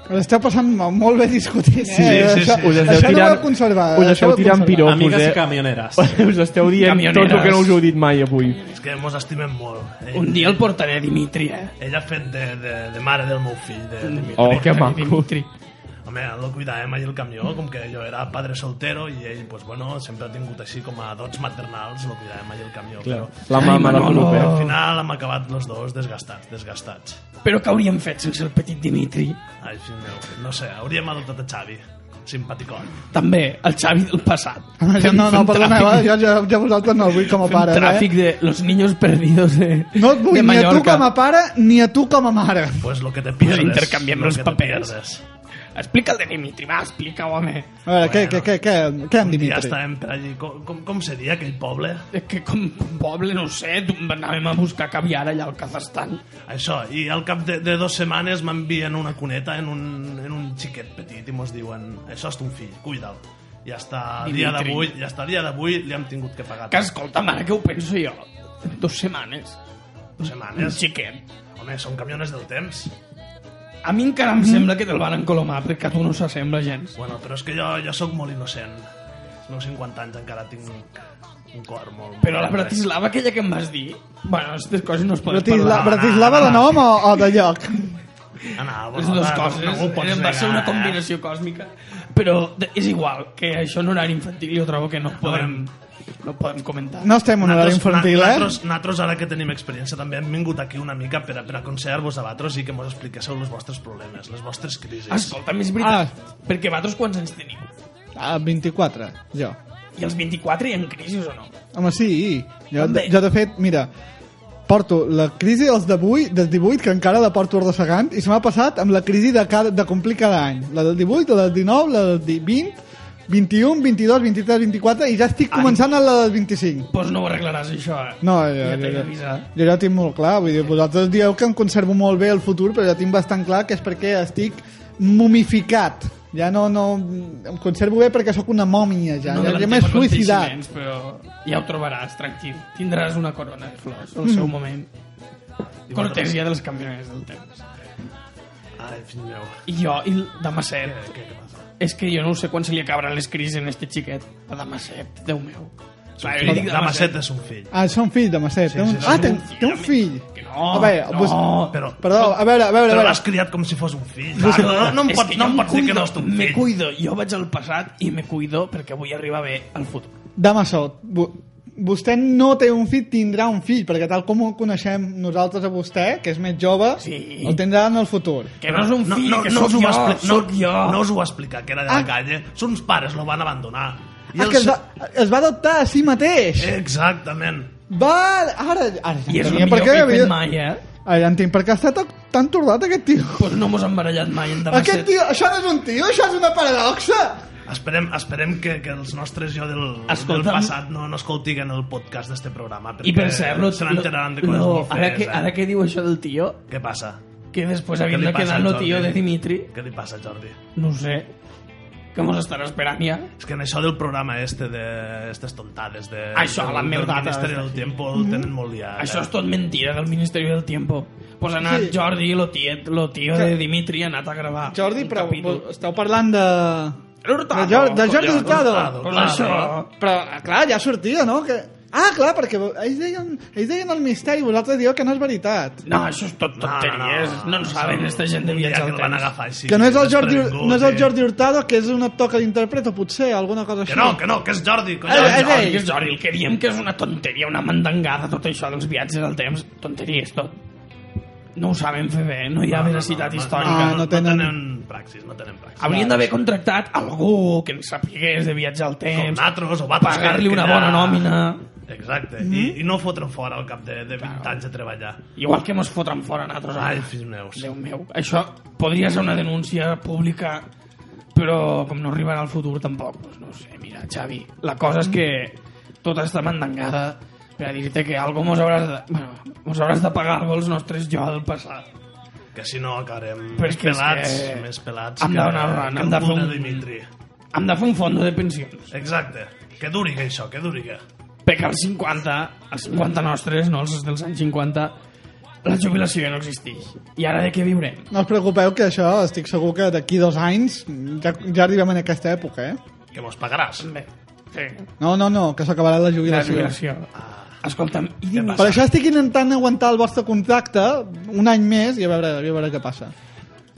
[SPEAKER 1] Us esteu passant molt bé discutint, eh?
[SPEAKER 3] Sí, sí,
[SPEAKER 1] això,
[SPEAKER 3] sí. Us esteu
[SPEAKER 1] això no ho
[SPEAKER 3] tirant-
[SPEAKER 1] heu conservat. eh,
[SPEAKER 3] us
[SPEAKER 1] això
[SPEAKER 3] esteu
[SPEAKER 1] ho heu
[SPEAKER 3] tirant
[SPEAKER 1] conservat.
[SPEAKER 3] piropos,
[SPEAKER 2] Amigues
[SPEAKER 3] eh?
[SPEAKER 2] i camioneres.
[SPEAKER 3] Us esteu dient tot el que no us heu dit mai avui.
[SPEAKER 4] És que mos estimem molt. Ell,
[SPEAKER 10] Un dia el portaré a Dimitri, eh?
[SPEAKER 4] Ell ha fet de, de, de mare del meu fill, de, de mi.
[SPEAKER 3] Oh, que maco.
[SPEAKER 4] Home, el cuidàvem ahir el camió, com que jo era padre soltero i ell, pues, bueno, sempre ha tingut així com a dots maternals, el cuidàvem ahir el camió.
[SPEAKER 3] Clar,
[SPEAKER 4] Però...
[SPEAKER 3] la mama
[SPEAKER 10] Ai,
[SPEAKER 3] del
[SPEAKER 10] Manolo.
[SPEAKER 3] club,
[SPEAKER 4] Al
[SPEAKER 3] eh?
[SPEAKER 4] final hem acabat los dos desgastats, desgastats.
[SPEAKER 10] Però què hauríem fet sense el petit Dimitri?
[SPEAKER 4] Ai, fill meu, no sé, hauríem adoptat a Xavi. Simpaticón.
[SPEAKER 10] També, el Xavi del passat.
[SPEAKER 1] Ah, Jo,
[SPEAKER 10] Fent-
[SPEAKER 1] no, no,
[SPEAKER 10] fent
[SPEAKER 1] perdoneu, eh?
[SPEAKER 10] tràfic-
[SPEAKER 1] jo, jo, jo vosaltres no el vull com a
[SPEAKER 10] fent
[SPEAKER 1] pare, eh?
[SPEAKER 10] tràfic de los niños perdidos de,
[SPEAKER 1] No et vull
[SPEAKER 10] de
[SPEAKER 1] ni a tu
[SPEAKER 10] Mallorca.
[SPEAKER 1] com a pare ni a tu com a mare.
[SPEAKER 4] Pues lo que te pierdes.
[SPEAKER 10] intercanviem
[SPEAKER 4] lo
[SPEAKER 10] els
[SPEAKER 4] que te
[SPEAKER 10] papers.
[SPEAKER 4] pierdes.
[SPEAKER 10] Explica el de Dimitri, va, explica-ho, home.
[SPEAKER 1] A veure, què, què, què, què, què em
[SPEAKER 4] Ja
[SPEAKER 1] Dimitri?
[SPEAKER 10] eh.
[SPEAKER 4] estàvem per allí. Com, com, com seria aquell poble?
[SPEAKER 10] És que com un poble, no ho sé, tu- anàvem a buscar caviar allà al Kazakhstan.
[SPEAKER 4] Això, i al cap de, de dues setmanes m'envien una cuneta en un, en un xiquet petit i mos diuen això és ton fill, cuida'l. I hasta dia
[SPEAKER 10] Dimitri.
[SPEAKER 4] d'avui, i hasta dia d'avui li hem tingut que pagar.
[SPEAKER 10] Que escolta, mare, que ho penso jo. Dos setmanes.
[SPEAKER 4] Dues
[SPEAKER 10] Un
[SPEAKER 4] setmanes.
[SPEAKER 10] xiquet.
[SPEAKER 4] Home, són camiones del temps.
[SPEAKER 10] A mi encara em sembla que te'l van encolomar perquè a tu no s'assembla gens.
[SPEAKER 4] Bueno, però és que jo, jo sóc molt innocent. Els meus 50 anys encara tinc un cor molt...
[SPEAKER 10] Però la Bratislava aquella que em vas dir... Bueno, aquestes coses no es poden
[SPEAKER 1] Bratisla,
[SPEAKER 10] parlar.
[SPEAKER 1] Bratislava de nom o, o de lloc?
[SPEAKER 4] Anà,
[SPEAKER 10] Les dues coses
[SPEAKER 4] No, no ho pots
[SPEAKER 10] va ser
[SPEAKER 4] negar,
[SPEAKER 10] una
[SPEAKER 4] eh?
[SPEAKER 10] combinació còsmica. Però de- és igual, que això en horari infantil jo trobo que no podem, no podem comentar.
[SPEAKER 1] No estem en un horari infantil, eh?
[SPEAKER 4] Nosaltres, nosaltres, ara que tenim experiència, també hem vingut aquí una mica per, a- per aconseguir-vos a vosaltres i que mos expliquéssiu els vostres problemes, les vostres crisis.
[SPEAKER 10] Escolta, Ah, és veritat, perquè vosaltres quants anys teniu?
[SPEAKER 1] Ah, 24, jo.
[SPEAKER 10] I els 24 hi ha crisis o no?
[SPEAKER 1] Home, sí. Jo,
[SPEAKER 10] També.
[SPEAKER 1] jo de fet, mira, porto la crisi dels d'avui, dels 18, que encara la porto arrossegant, i se m'ha passat amb la crisi de, cada, de complir cada any. La del 18, la del 19, la del di- 20, 21, 22, 23, 24, i ja estic començant a la del 25.
[SPEAKER 10] Doncs no ho arreglaràs, això, eh?
[SPEAKER 1] No, jo,
[SPEAKER 10] ja
[SPEAKER 1] jo,
[SPEAKER 10] t'he
[SPEAKER 1] jo,
[SPEAKER 10] avisat.
[SPEAKER 1] jo ja ho tinc molt clar. Vull dir, vosaltres dieu que em conservo molt bé el futur, però jo tinc bastant clar que és perquè estic mumificat Ja no, no... Em conservo bé perquè sóc una mòmia, ja.
[SPEAKER 10] No
[SPEAKER 1] No, ja, ja
[SPEAKER 10] adelantaré
[SPEAKER 1] m'he
[SPEAKER 10] per quantíssims
[SPEAKER 1] suïcidat.
[SPEAKER 10] anys, Però ja ho trobaràs, tranquil. Tindràs una corona de flors al
[SPEAKER 1] Mm.
[SPEAKER 10] seu moment. Cortesia dels campionats del temps.
[SPEAKER 4] Ai, fill meu.
[SPEAKER 10] I jo, i el Damaset. És que jo no sé quan se li acabaran les crisis en este xiquet. A Damaset, Déu meu. Clar, jo li dic
[SPEAKER 4] Damaset és un fill.
[SPEAKER 1] Ah, són fill de Macet.
[SPEAKER 4] Sí,
[SPEAKER 1] té un...
[SPEAKER 4] sí, sí.
[SPEAKER 1] ah, té, té un fill.
[SPEAKER 4] No,
[SPEAKER 1] a veure,
[SPEAKER 4] no,
[SPEAKER 1] vos-
[SPEAKER 4] però...
[SPEAKER 1] Perdó, a veure, a veure. a
[SPEAKER 4] Però
[SPEAKER 1] veure.
[SPEAKER 4] l'has criat com si fos un fill.
[SPEAKER 10] Clar,
[SPEAKER 4] no, no, no em
[SPEAKER 10] és
[SPEAKER 4] pot,
[SPEAKER 10] que
[SPEAKER 4] no
[SPEAKER 10] jo
[SPEAKER 4] em pots dir que
[SPEAKER 10] cuido,
[SPEAKER 4] no és ton
[SPEAKER 10] Me
[SPEAKER 4] fill.
[SPEAKER 10] cuido, jo vaig al passat i me cuido perquè vull arribar bé al futur.
[SPEAKER 1] Damasot, vo- vostè no té un fill, tindrà un fill, perquè tal com ho coneixem nosaltres a vostè, que és més jove, sí. el tindrà en el futur.
[SPEAKER 10] Que no és un fill,
[SPEAKER 4] no,
[SPEAKER 10] que
[SPEAKER 4] no
[SPEAKER 10] sóc
[SPEAKER 4] us ho
[SPEAKER 10] jo,
[SPEAKER 4] va expli-
[SPEAKER 10] sóc
[SPEAKER 4] no,
[SPEAKER 10] jo.
[SPEAKER 4] No us ho va explicar, que era de la calle. Sons pares lo van abandonar. I
[SPEAKER 1] Ah,
[SPEAKER 4] el
[SPEAKER 1] que es
[SPEAKER 4] se-
[SPEAKER 1] va, es va adoptar a si mateix.
[SPEAKER 4] Exactament.
[SPEAKER 1] Va, ara... ara ja
[SPEAKER 4] I és
[SPEAKER 1] entenia
[SPEAKER 4] el millor
[SPEAKER 1] per què
[SPEAKER 4] que he fet
[SPEAKER 1] havia-
[SPEAKER 4] mai,
[SPEAKER 10] eh?
[SPEAKER 1] Ara ja entenc per què ha estat tan tordat aquest tio.
[SPEAKER 10] Pues no mos han barallat mai en Damaset.
[SPEAKER 1] Aquest tio, això no és un tio, això és una paradoxa.
[SPEAKER 4] Esperem, esperem que, que els nostres jo del, del
[SPEAKER 10] Escolta'm.
[SPEAKER 4] passat no, no escoltiguen el podcast d'este programa.
[SPEAKER 10] I per cert, lo,
[SPEAKER 4] se
[SPEAKER 10] lo,
[SPEAKER 4] n'enteraran de coses
[SPEAKER 10] lo,
[SPEAKER 4] molt
[SPEAKER 10] ara,
[SPEAKER 4] fees,
[SPEAKER 10] que,
[SPEAKER 4] eh?
[SPEAKER 10] ara que diu això del tio,
[SPEAKER 4] Què passa?
[SPEAKER 10] que després
[SPEAKER 4] Què
[SPEAKER 10] havent
[SPEAKER 4] li
[SPEAKER 10] de
[SPEAKER 4] passa
[SPEAKER 10] quedar
[SPEAKER 4] al
[SPEAKER 10] lo
[SPEAKER 4] Jordi?
[SPEAKER 10] tio de Dimitri,
[SPEAKER 4] Què li passa, Jordi?
[SPEAKER 10] no ho sé, que mos estarà esperant ja.
[SPEAKER 4] És que en això del programa este de estas tontades de...
[SPEAKER 10] Ah, Això,
[SPEAKER 4] del,
[SPEAKER 10] la
[SPEAKER 4] del
[SPEAKER 10] merdata,
[SPEAKER 4] Ministeri del
[SPEAKER 10] sí.
[SPEAKER 4] Tiempo el
[SPEAKER 10] Mhm.
[SPEAKER 4] tenen molt liat. eh?
[SPEAKER 10] Això és tot mentida del Ministeri del Tiempo. Pues ha anat
[SPEAKER 1] Sí.
[SPEAKER 10] Jordi, lo, tiet, lo tio
[SPEAKER 1] Que-
[SPEAKER 10] de Dimitri, ha anat a gravar.
[SPEAKER 1] Jordi,
[SPEAKER 10] un
[SPEAKER 1] però
[SPEAKER 10] capítol.
[SPEAKER 1] vo- esteu parlant de...
[SPEAKER 10] Hurtado,
[SPEAKER 1] de, Jordi, de Jordi
[SPEAKER 10] collons,
[SPEAKER 1] Hurtado.
[SPEAKER 10] Hurtado, Pues Hurtado.
[SPEAKER 1] Però, ah, clar, ja sortia, no? Que... Ah, clar, perquè vo- ells deien, ells deien el misteri, vosaltres dieu que no és veritat.
[SPEAKER 10] No, això és tot tonteries. No, en saben, esta gent de
[SPEAKER 4] Un dia
[SPEAKER 10] viatjar
[SPEAKER 4] que
[SPEAKER 10] al
[SPEAKER 4] el van
[SPEAKER 10] temps.
[SPEAKER 4] agafar així.
[SPEAKER 1] que no és, el Jordi,
[SPEAKER 4] desprevingut,
[SPEAKER 1] no és el
[SPEAKER 4] eh?
[SPEAKER 1] Jordi Hurtado, que és un actor que l'interpreta, potser, alguna cosa així.
[SPEAKER 4] Que no, que no, que és
[SPEAKER 10] Ah,
[SPEAKER 4] Jordi,
[SPEAKER 1] Eh,
[SPEAKER 4] collons.
[SPEAKER 10] és Jordi, és Jordi, el que diem que és una tonteria, una mandangada, tot això dels viatges al temps, tonteria és tot. No ho saben fer bé, no hi ha veracitat històrica.
[SPEAKER 1] Ah, no, no tenen...
[SPEAKER 4] praxis, no tenen praxis.
[SPEAKER 10] Haurien d'haver contractat algú que en sapigués de viatjar al temps.
[SPEAKER 4] Com nosaltres, o va
[SPEAKER 10] Pagar-li una bona nòmina.
[SPEAKER 4] Exacte,
[SPEAKER 10] Mhm.
[SPEAKER 4] I, i no fotre'n fora al cap de, de 20 anys de treballar.
[SPEAKER 10] Igual que mos fotran fora nosaltres. eh?
[SPEAKER 4] Ai, fills meus.
[SPEAKER 10] Déu meu. Això podria ser una denúncia pública, però com no arribarà al futur tampoc, doncs no ho sé, mira, Xavi, la cosa és que tota esta mandangada per a dir-te que algo mos hauràs de... Bueno, mos hauràs de pagar algo els nostres jo del passat.
[SPEAKER 4] Que si no acabarem
[SPEAKER 10] Però
[SPEAKER 4] més
[SPEAKER 10] és que és
[SPEAKER 4] pelats,
[SPEAKER 10] que-
[SPEAKER 4] més pelats
[SPEAKER 10] Hem de donar ran, hem de fer
[SPEAKER 4] un...
[SPEAKER 10] un-
[SPEAKER 4] Dimitri.
[SPEAKER 10] Hem de fer un fondo de pensions.
[SPEAKER 4] Exacte, que duri que això, que duri que...
[SPEAKER 10] Perquè als 50, als 50 nostres, no els dels anys 50, la jubilació ja no existeix. I ara de què viurem?
[SPEAKER 1] No us preocupeu que això, estic segur que d'aquí dos anys ja, ja arribem en aquesta època, eh?
[SPEAKER 4] Que mos pagaràs.
[SPEAKER 10] Bé, sí.
[SPEAKER 1] No, no, no, que s'acabarà la jubilació.
[SPEAKER 10] La jubilació. Escolta'm, i digue'm...
[SPEAKER 1] Per això estic intentant aguantar el vostre contracte un any més i a veure, i a veure què passa.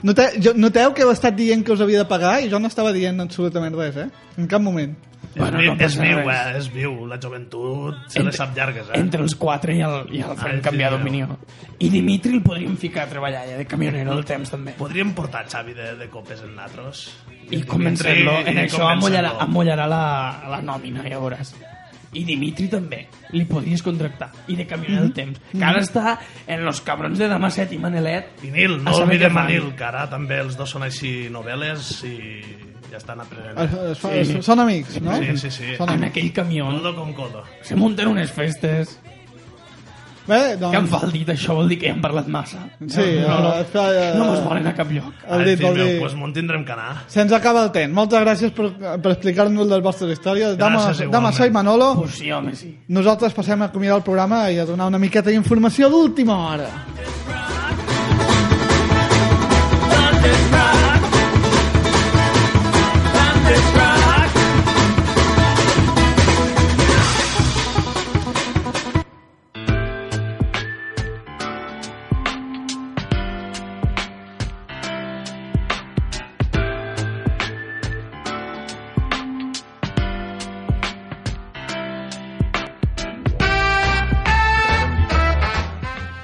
[SPEAKER 1] Note, jo, noteu que heu estat dient que us havia de pagar i jo no estava dient absolutament res, eh? En cap moment.
[SPEAKER 10] Bueno, no
[SPEAKER 4] és, vi- és
[SPEAKER 10] passa
[SPEAKER 4] viu,
[SPEAKER 10] res.
[SPEAKER 4] eh? És viu, la joventut se
[SPEAKER 10] Entre-
[SPEAKER 4] les sap llargues, eh?
[SPEAKER 10] Entre els quatre i el, i el farem
[SPEAKER 4] Ai,
[SPEAKER 10] canviar
[SPEAKER 4] fill
[SPEAKER 10] d'opinió. I Dimitri el podríem ficar a treballar ja de camionero del temps, també.
[SPEAKER 4] Podríem portar Xavi de, de copes en natros.
[SPEAKER 10] I convencer-lo.
[SPEAKER 4] Dimitri,
[SPEAKER 10] En
[SPEAKER 4] i
[SPEAKER 10] això amollarà,
[SPEAKER 4] convencer-lo.
[SPEAKER 10] amollarà la, la nòmina, ja veuràs. I Dimitri també. Li podries contractar. I de camioner del temps. Que ara està en los cabrons de Damaset i Manelet.
[SPEAKER 4] I Nil,
[SPEAKER 10] A
[SPEAKER 4] no
[SPEAKER 10] saber què
[SPEAKER 4] oblidem a
[SPEAKER 10] fan.
[SPEAKER 4] Nil, que ara també els dos són així novel·les i ja estan aprenent.
[SPEAKER 1] Es, es, fa- es, eh, Són amics, no?
[SPEAKER 4] Sí, sí, sí.
[SPEAKER 1] Són
[SPEAKER 10] En
[SPEAKER 1] amics.
[SPEAKER 10] aquell camió
[SPEAKER 4] Codo con codo.
[SPEAKER 10] se munten unes festes.
[SPEAKER 1] Bé,
[SPEAKER 10] Que em
[SPEAKER 1] doncs,
[SPEAKER 10] fa el dit, això vol dir que hi hem parlat massa.
[SPEAKER 1] Sí,
[SPEAKER 10] no, no,
[SPEAKER 1] eh, està, eh,
[SPEAKER 10] no mos volen a cap lloc.
[SPEAKER 1] El
[SPEAKER 4] Ai,
[SPEAKER 1] dit,
[SPEAKER 4] fill
[SPEAKER 1] el
[SPEAKER 4] meu,
[SPEAKER 1] dit.
[SPEAKER 4] pues m'ho tindrem que anar.
[SPEAKER 1] se'ns acaba el temps. Moltes gràcies per, per explicar-nos les vostres històries. Dama,
[SPEAKER 4] Gràcies,
[SPEAKER 1] Dama, soy Manolo.
[SPEAKER 10] Pues sí, home, sí.
[SPEAKER 1] Nosaltres passem a acomiadar el programa i a donar una miqueta d'informació d'última hora.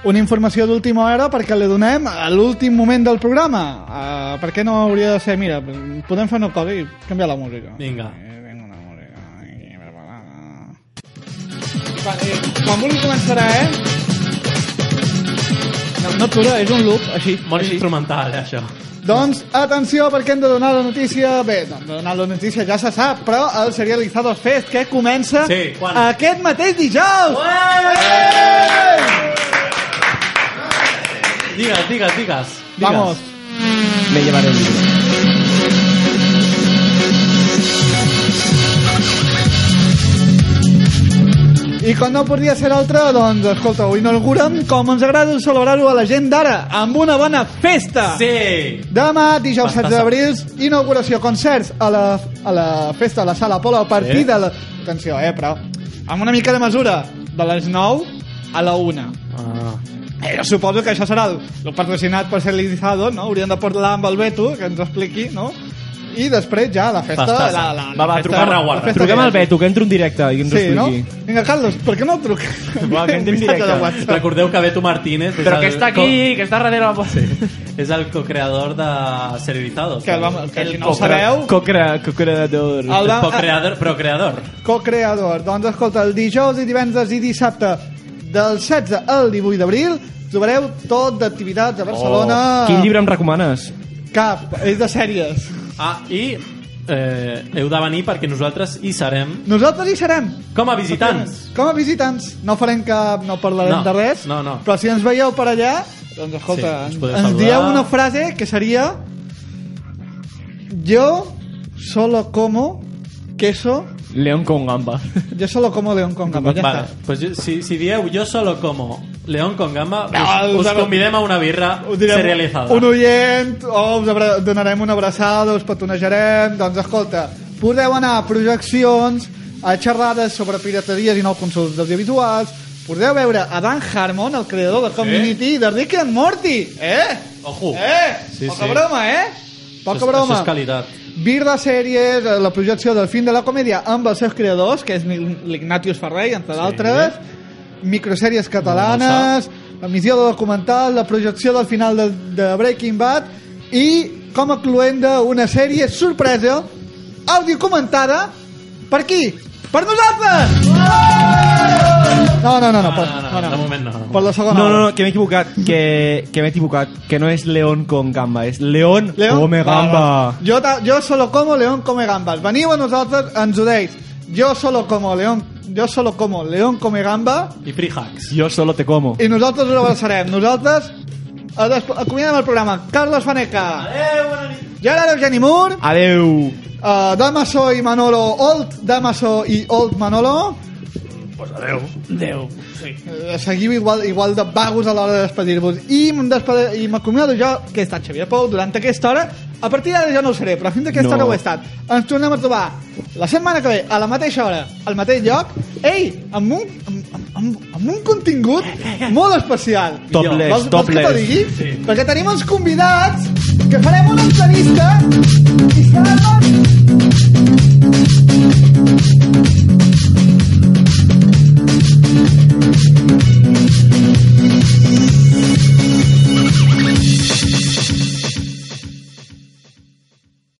[SPEAKER 1] Una informació d'última hora perquè la donem a l'últim moment del programa. Uh, per què no hauria de ser? Mira, podem fer una cosa i canviar la música.
[SPEAKER 2] Vinga.
[SPEAKER 1] Va, eh, Quan vulgui començarà, eh? No, no atura, és un loop, així.
[SPEAKER 2] Molt instrumental, eh, això.
[SPEAKER 1] Doncs, atenció, perquè hem de donar la notícia... Bé, doncs, de donar la notícia ja se sap, però el Serializados Fest, que comença
[SPEAKER 2] Sí, quan?
[SPEAKER 1] aquest mateix dijous!
[SPEAKER 2] Digues, digues, digues. digues.
[SPEAKER 1] Vamos.
[SPEAKER 3] Me llevaré un
[SPEAKER 1] I com no podria ser altra, doncs, escolta, ho inaugurem com ens agrada celebrar-ho a la gent d'ara, amb una bona festa!
[SPEAKER 2] Sí!
[SPEAKER 1] Demà, dijous 16
[SPEAKER 2] M'estàs
[SPEAKER 1] d'abril, inauguració, concerts a la, a la festa a la Sala Polo a partir
[SPEAKER 2] Eh?
[SPEAKER 1] de la... Atenció, eh, però... Amb una mica de mesura, de les 9 a la 1.
[SPEAKER 2] Ah.
[SPEAKER 1] Eh, jo suposo que això serà el, el patrocinat per ser l'Izado, no? Hauríem de parlar amb el Beto, que ens expliqui, no? I després ja la festa... La,
[SPEAKER 3] Festassa.
[SPEAKER 1] la, la,
[SPEAKER 3] Va, va,
[SPEAKER 1] festa-
[SPEAKER 3] truquem a
[SPEAKER 1] la festa
[SPEAKER 3] Truquem
[SPEAKER 1] que hi
[SPEAKER 3] al
[SPEAKER 1] hagi.
[SPEAKER 3] Beto, que entri un directe i que ens ho
[SPEAKER 1] Sí, no?
[SPEAKER 3] expliqui.
[SPEAKER 1] Vinga, Carlos, per què no el truques?
[SPEAKER 2] Va, que
[SPEAKER 1] Un
[SPEAKER 2] anem
[SPEAKER 1] missatge de
[SPEAKER 2] directe.
[SPEAKER 1] WhatsApp.
[SPEAKER 2] Recordeu que Beto Martínez...
[SPEAKER 1] Pues
[SPEAKER 10] Però que està aquí, que està darrere la porta.
[SPEAKER 2] És el co-creador de Serializados.
[SPEAKER 1] Que el vam- que si no ho
[SPEAKER 2] co-cre-
[SPEAKER 1] sabeu-
[SPEAKER 3] Co-creador.
[SPEAKER 1] El va-
[SPEAKER 2] Co-creador, però creador.
[SPEAKER 1] Co-creador. Doncs escolta, el dijous i divendres i dissabte del 16 al 18 d'abril trobareu tot d'activitats a Barcelona.
[SPEAKER 3] Oh, Quin llibre em recomanes?
[SPEAKER 1] Cap, és de sèries.
[SPEAKER 2] Ah, i eh, heu de venir perquè nosaltres hi serem
[SPEAKER 1] Nosaltres hi serem.
[SPEAKER 2] com a visitants.
[SPEAKER 1] Com a visitants. No farem cap, no parlarem
[SPEAKER 2] No,
[SPEAKER 1] de res.
[SPEAKER 2] no, no.
[SPEAKER 1] Però si ens veieu per allà, doncs escolta,
[SPEAKER 2] Sí, ens
[SPEAKER 1] sí,
[SPEAKER 2] podeu
[SPEAKER 1] ens, ens
[SPEAKER 2] saludar.
[SPEAKER 1] dieu una frase que seria Yo solo como queso
[SPEAKER 3] León con gamba.
[SPEAKER 1] Yo solo como león con gamba, ja
[SPEAKER 2] vale,
[SPEAKER 1] està.
[SPEAKER 2] pues, jo- si, si dieu jo solo como León con gamba,
[SPEAKER 1] No,
[SPEAKER 2] us, us
[SPEAKER 1] Ah, us-
[SPEAKER 2] convidem a una birra
[SPEAKER 1] Ho direm
[SPEAKER 2] serialitzada.
[SPEAKER 1] un oient, o us abra- donarem una abraçada, us petonejarem, doncs escolta, podeu anar a projeccions, a xerrades sobre pirateries i nou consums d'audiovisuals, podeu veure a Dan Harmon, el creador de Community, i de Rick and Morty, eh?
[SPEAKER 2] Ojo.
[SPEAKER 1] Eh?
[SPEAKER 2] Oh. Sí,
[SPEAKER 1] Poca
[SPEAKER 2] sí.
[SPEAKER 1] broma, eh? Poca
[SPEAKER 2] Això és-
[SPEAKER 1] broma.
[SPEAKER 2] Això és qualitat.
[SPEAKER 1] Vir de sèries, eh, la projecció del fin de la comèdia amb els seus creadors, que és l'Ignatius Ferrer, entre d'altres, microsèries catalanes, emissió de documental, la projecció del final de, de Breaking Bad i, com a cluenda, una sèrie sorpresa, àudio comentada, per qui? Per nosaltres! No, no, no, no, per, no, no,
[SPEAKER 2] De moment no.
[SPEAKER 1] per la segona
[SPEAKER 3] No,
[SPEAKER 1] hora.
[SPEAKER 3] no, no, que m'he equivocat, que, que m'he equivocat, que no és León con gamba, és León come gamba.
[SPEAKER 1] Yo, ta- yo solo como león come gambas. Veniu a nosaltres, ens ho deies. Jo solo como león, jo solo como león come gamba
[SPEAKER 2] I free hacks.
[SPEAKER 3] Jo solo te como.
[SPEAKER 1] i nosaltres us abraçarem. Nosaltres a des- acomiadem el programa. Carlos Faneca. Adéu, bona nit. Gerard Eugeni Mur.
[SPEAKER 3] Adeu.
[SPEAKER 1] Uh, Damaso i Manolo Old. Damaso i Old Manolo.
[SPEAKER 4] Pues adeu. Adeu. Sí.
[SPEAKER 1] Eh, seguiu igual, igual de vagos a l'hora de despedir-vos. I em despede- i m'acomiado jo, que he estat Xavier Pou, durant aquesta hora. A partir d'ara ja no ho seré, però fins aquesta
[SPEAKER 3] No.
[SPEAKER 1] hora ho he estat. Ens tornem a trobar la setmana que ve, a la mateixa hora, al mateix lloc. Ei, amb un, amb, amb, amb un contingut molt especial. vols,
[SPEAKER 3] Topless,
[SPEAKER 1] vols que t'ho
[SPEAKER 3] topless.
[SPEAKER 1] digui?
[SPEAKER 3] Sí.
[SPEAKER 1] Perquè tenim els convidats que farem una entrevista i serà tot